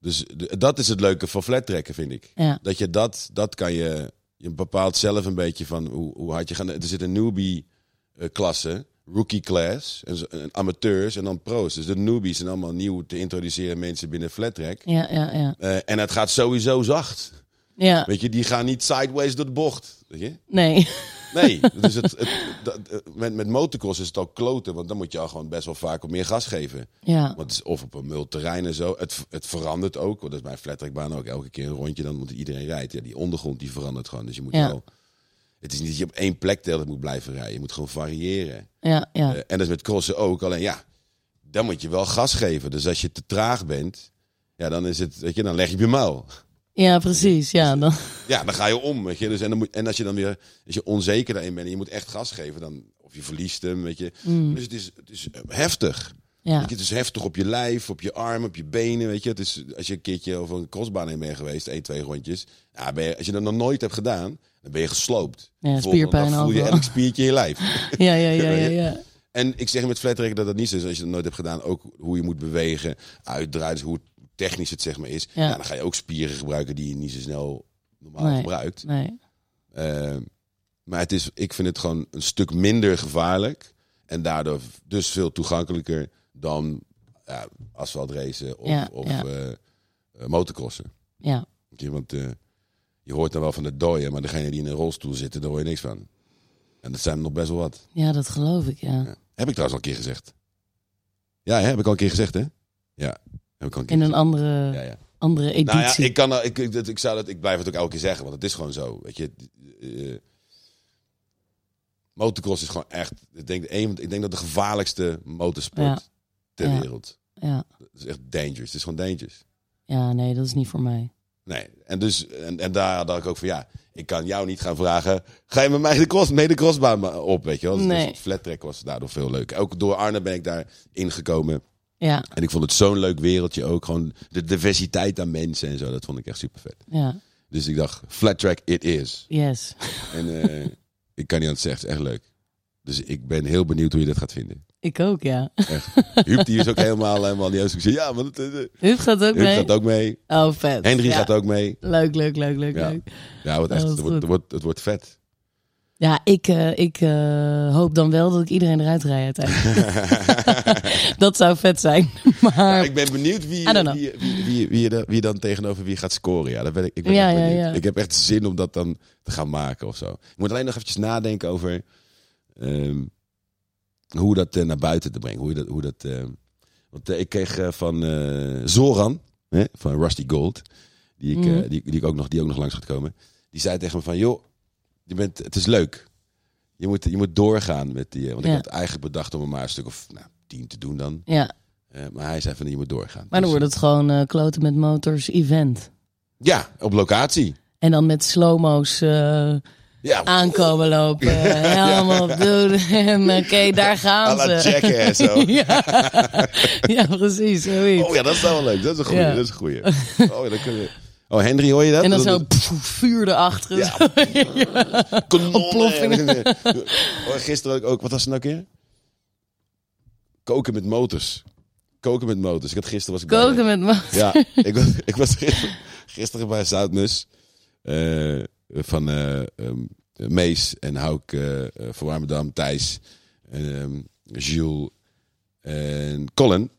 S1: Dus d- dat is het leuke van flattrekken, vind ik.
S2: Ja.
S1: Dat je dat, dat kan je, je bepaalt zelf een beetje van hoe, hoe hard je gaat. Er zit een newbie-klasse, rookie class, en, zo- en amateurs en dan pro's. Dus de newbies zijn allemaal nieuw te introduceren mensen binnen flattrack.
S2: Ja, ja, ja.
S1: Eh, en het gaat sowieso zacht.
S2: Ja,
S1: Weet je, die gaan niet sideways door de bocht. Weet je?
S2: nee.
S1: Nee, dus het, het, dat, eh, met, met motocross is het al kloten, want dan moet je al gewoon best wel vaak op meer gas geven.
S2: Ja,
S1: Want het is of op een multerrein en zo. Het, het verandert ook. want Dat is mijn flattrackbaan ook. Elke keer een rondje, dan moet iedereen rijden. Ja, die ondergrond die verandert gewoon. Dus je moet
S2: Ja.
S1: wel... Het is niet dat je op één plek de hele tijd moet blijven rijden. Je moet gewoon variëren.
S2: ja, ja.
S1: Eh, en dat is met crossen ook. Alleen ja, dan moet je wel gas geven. Dus als je te traag bent, ja, dan, is het, weet je, dan leg je op je muil.
S2: Ja, precies. Ja, dan,
S1: Ja, dan ga je om. Weet je. Dus en, dan moet, en als je dan weer als je onzeker daarin bent en je moet echt gas geven, dan, of je verliest hem. Weet je. Dus het is, het is eh, heftig.
S2: Mm. ja.
S1: Weet je, het is heftig op je lijf, op je arm, op je benen. Weet je. Het is, als je een keertje over een crossbaan heen bent geweest, één, twee rondjes. Ja, ben je, als je dat nog nooit hebt gedaan, dan ben je gesloopt.
S2: Ja,
S1: Volgende dag
S2: spierpijn
S1: voel je
S2: overal.
S1: elk spiertje in je lijf.
S2: Ja, ja, ja, ja, ja.
S1: en ik zeg met flatrack dat dat niet zo is. Als je dat nooit hebt gedaan, ook hoe je moet bewegen, uitdraaien, dus hoe technisch het zeg maar is.
S2: Ja.
S1: Ja, dan ga je ook spieren gebruiken die je niet zo snel normaal
S2: Nee.
S1: gebruikt.
S2: Nee.
S1: Eh, maar het is, ik vind het gewoon een stuk minder gevaarlijk. En daardoor dus veel toegankelijker dan ja, asfaltracen of,
S2: Ja,
S1: of
S2: ja.
S1: eh, eh, motocrossen.
S2: Ja,
S1: Weet je, Want eh, je hoort dan wel van de dooien, maar degene die in een rolstoel zitten, daar hoor je niks van. En dat zijn er nog best wel wat.
S2: ja, dat geloof ik, ja.
S1: Ja. Heb ik trouwens al een keer gezegd. Ja, hè, heb ik al een keer gezegd, hè? Ja, heb ik al een keer
S2: In een
S1: gezegd.
S2: andere,
S1: Ja, ja.
S2: andere editie.
S1: Nou ja, ik, kan, er- ik, ik, dat- ik, zou dat, ik blijf het ook elke keer zeggen, want het is gewoon zo. Weet je, eh, motocross is gewoon echt, ik denk, een, ik denk dat de gevaarlijkste motorsport
S2: Ja.
S1: ter
S2: Ja.
S1: wereld.
S2: ja.
S1: Het is echt dangerous, het is gewoon dangerous.
S2: ja, nee, dat is niet voor mij.
S1: Nee, en, dus, en, en daar dacht ik ook van, ja, ik kan jou niet gaan vragen, ga je met mij de cross, mee de crossbaan ma- op, weet je wel. Dus
S2: Nee.
S1: het flat track was daardoor veel leuker. Ook door Arne ben ik daar ingekomen.
S2: Ja,
S1: En ik vond het zo'n leuk wereldje ook, gewoon de diversiteit aan mensen en zo, dat vond ik echt super vet.
S2: ja,
S1: Dus ik dacht, flat track it is.
S2: yes.
S1: En eh, ik kan niet aan het zeggen, het is echt leuk. Dus ik ben heel benieuwd hoe je dat gaat vinden.
S2: Ik ook, ja.
S1: Huub die is ook helemaal, helemaal niet eens. Ik zei, ja, maar het, het- het-
S2: Huub gaat ook
S1: Huub
S2: mee.
S1: gaat ook mee.
S2: Oh, vet.
S1: Henry
S2: ja.
S1: gaat ook mee.
S2: Leuk, leuk, leuk, leuk,
S1: Ja.
S2: leuk.
S1: Ja, wat
S2: Ja,
S1: echt,
S2: dat
S1: het,
S2: is
S1: wordt,
S2: goed.
S1: het, wordt, het wordt vet.
S2: Ja, ik, eh, ik eh, hoop dan wel dat ik iedereen eruit rijd uiteindelijk. dat zou vet zijn.
S1: Ja,
S2: Maar
S1: ik ben benieuwd wie,
S2: I don't
S1: wie, wie, wie, wie, er- wie dan tegenover wie gaat scoren. Ja, dat ben ik, ik ben
S2: Ja,
S1: echt
S2: ja,
S1: benieuwd.
S2: ja.
S1: Ik heb echt zin om dat dan te gaan maken of zo. Ik moet alleen nog eventjes nadenken over ehm, hoe dat eh, naar buiten te brengen. Hoe je dat, hoe dat, ehm, want eh, ik kreeg eh, van eh, Zoran, hè, van Rusty Gold, die ik, eh,
S2: Mhm.
S1: die, die, ik ook nog, die ook nog langs gaat komen. Die zei tegen me van, joh, je bent, het is leuk. Je moet, je moet doorgaan met die... eh, want
S2: Ja.
S1: ik had eigenlijk bedacht om er maar een stuk of nou, tien te doen dan.
S2: ja,
S1: Eh, maar hij zei van je moet doorgaan.
S2: maar dan
S1: Dus-
S2: wordt het gewoon eh, kloten met motors event.
S1: Ja, op locatie.
S2: En dan met slow-mo's eh,
S1: Ja,
S2: aankomen lopen. Helemaal op doen. En eh, Oké, daar
S1: à
S2: gaan
S1: la
S2: ze.
S1: Jackass. zo.
S2: ja. ja, precies. Zoiets.
S1: Oh ja, dat is wel leuk. Dat is een goeie.
S2: Ja.
S1: Dat is een goeie. Oh, ja, dan kunnen we... oh, Henry, hoor je dat?
S2: en dan zo
S1: Dat-
S2: pff, vuur erachter.
S1: Ja. Kanonnen. Oh, Gisteren ook, ook, wat was het nou weer? Koken met motors. Koken met motors. Ik had gisteren was ik bij-
S2: Koken met motors.
S1: Ja, ik was, ik was gisteren, gisteren bij Zoutmus eh, van eh, ehm, Mees en Hauk eh eh, van Warmerdam, Thijs, ehm, Jules en Colin.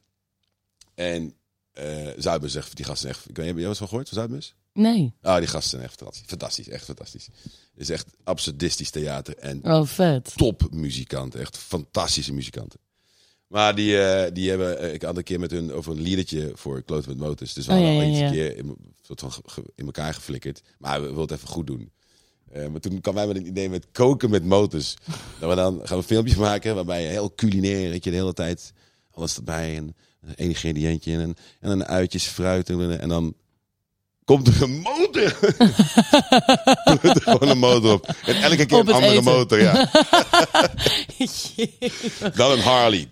S1: En eh Zuidmus zegt, die gasten echt, ik weet, heb jij was van gehoord van Zuidmus?
S2: Nee.
S1: Ah, die gasten zijn echt fantastisch. Fantastisch, echt fantastisch. Het is echt absurdistisch theater en
S2: Oh, vet.
S1: topmuzikanten. Echt fantastische muzikanten. Maar die, eh, die hebben, eh, ik had een keer met hun over een liedertje voor Kloot met Motors. Dus we
S2: Oh,
S1: hadden
S2: ja,
S1: al
S2: ja,
S1: eens een
S2: ja.
S1: keer in, soort van ge- ge- in elkaar geflikkerd. Maar we wilden het even goed doen. Eh, maar toen kwamen wij met een idee met koken met motors. dat we dan gaan we filmpjes maken waarbij je heel culinair, weet je, de hele tijd alles erbij. En een ingrediëntje en, een- en dan uitjes, fruit. En, en dan komt er een motor. Komt er gewoon een motor op. En elke keer
S2: Op
S1: een
S2: het
S1: andere
S2: eten.
S1: motor, ja.
S2: Jee.
S1: Dan een Harley.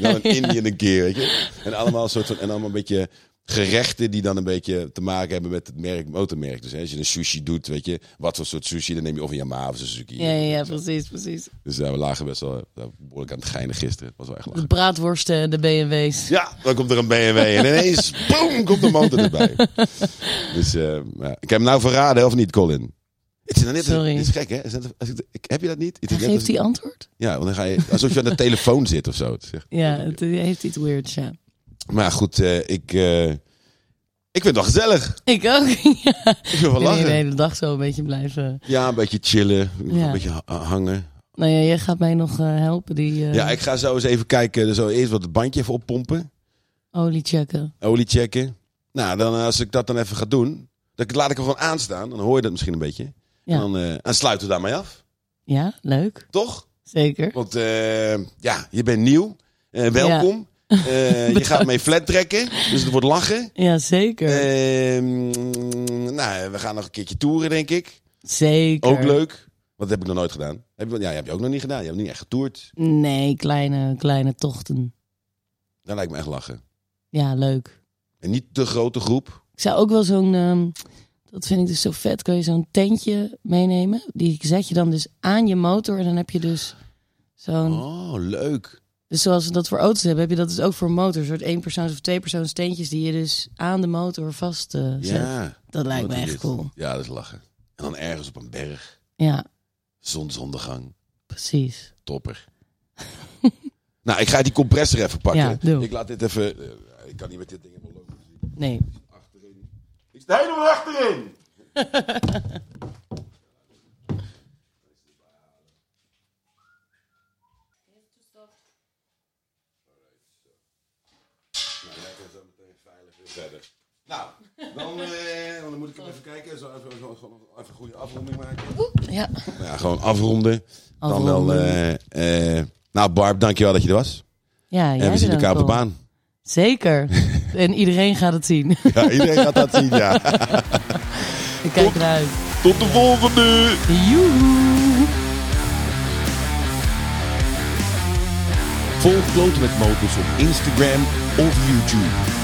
S1: Dan een Indian een keer, weet je. En allemaal, een soort van, en allemaal een beetje gerechten die dan een beetje te maken hebben met het merk, motormerk. Dus hè, als je een sushi doet, weet je, wat voor soort sushi, dan neem je of een Yamaha of een Suzuki.
S2: Ja, ja, ja, precies, precies.
S1: Dus daar we lagen best wel eh, daar behoorlijk aan het geinen gisteren. Het was wel echt
S2: De
S1: lachen.
S2: braadworsten en de BMW's.
S1: Ja, dan komt er een BMW en ineens, boom, komt de motor erbij. Dus eh, ja. ik heb hem nou verraden, of niet, Colin? Het is, nou net,
S2: Sorry.
S1: het is gek, hè? Het is net- als ik- ik- heb je dat niet? Het is
S2: Hij
S1: net als-
S2: Geeft hij antwoord?
S1: Ja, want dan ga je alsof je aan de telefoon zit of zo. Het is echt-
S2: Ja, het eh, heeft iets weirds, ja.
S1: Maar goed, eh, ik, eh, ik vind het wel gezellig.
S2: Ik ook. Ja.
S1: Ik wil wel
S2: Ik wil de
S1: lachen.
S2: hele dag zo een beetje blijven.
S1: Ja, een beetje chillen.
S2: Ja.
S1: Een beetje ha- hangen.
S2: Nou ja, jij gaat mij nog eh, helpen die eh,
S1: Ja, ik ga zo eens even kijken. Dus zo eerst wat het bandje even oppompen.
S2: olie checken.
S1: Olie checken. Nou, dan, als ik dat dan even ga doen. Dan laat ik hem gewoon aanstaan. Dan hoor je dat misschien een beetje.
S2: Ja.
S1: En dan, eh, dan sluiten we daarmee af.
S2: Ja, leuk.
S1: Toch?
S2: Zeker.
S1: Want eh, ja, je bent nieuw. Eh, welkom. Eh, je gaat mee flat trekken. Dus het wordt lachen.
S2: Ja, zeker.
S1: Ehm, nou, we gaan nog een keertje toeren, denk ik.
S2: zeker.
S1: Ook leuk. Want dat heb ik nog nooit gedaan. Heb je, ja, heb je ook nog niet gedaan. Je hebt niet echt getoerd.
S2: Nee, kleine, kleine tochten.
S1: Dat lijkt me echt lachen.
S2: Ja, leuk.
S1: En niet de grote groep.
S2: Ik zou ook wel zo'n, ehm, dat vind ik dus zo vet, kun je zo'n tentje meenemen. Die zet je dan dus aan je motor en dan heb je dus zo'n...
S1: Oh, leuk.
S2: Dus zoals we dat voor auto's hebben, heb je dat dus ook voor motors. Een soort eenpersoons of tweepersoons teentjes die je dus aan de motor vast eh, zet.
S1: Ja.
S2: Dat lijkt me
S1: Wat is
S2: echt
S1: dit?
S2: cool.
S1: Ja, dat is lachen. En dan ergens op een berg.
S2: Ja,
S1: Zonsondergang.
S2: precies.
S1: Topper. nou, ik ga die compressor even pakken.
S2: Ja, doe.
S1: Ik laat dit even... eh, ik kan niet met dit ding helemaal lopen.
S2: Nee.
S1: Ik zit helemaal achterin. Nou, dan, eh, dan moet ik hem even kijken. Zo even, zo- gewoon even een goede afronding maken.
S2: Ja.
S1: Nou ja, gewoon afronden. Dan wel.
S2: Afronden.
S1: eh, eh, nou, Barb, dankjewel dat je er was.
S2: Ja, jij
S1: en we zien
S2: bedankt,
S1: elkaar op de
S2: Paul.
S1: baan.
S2: Zeker. en iedereen gaat het zien.
S1: Ja, iedereen gaat dat zien, ja.
S2: Ik kijk ernaar uit.
S1: Tot de volgende!
S2: Joehoe.
S1: Volg Kloten met Motors op Instagram of YouTube.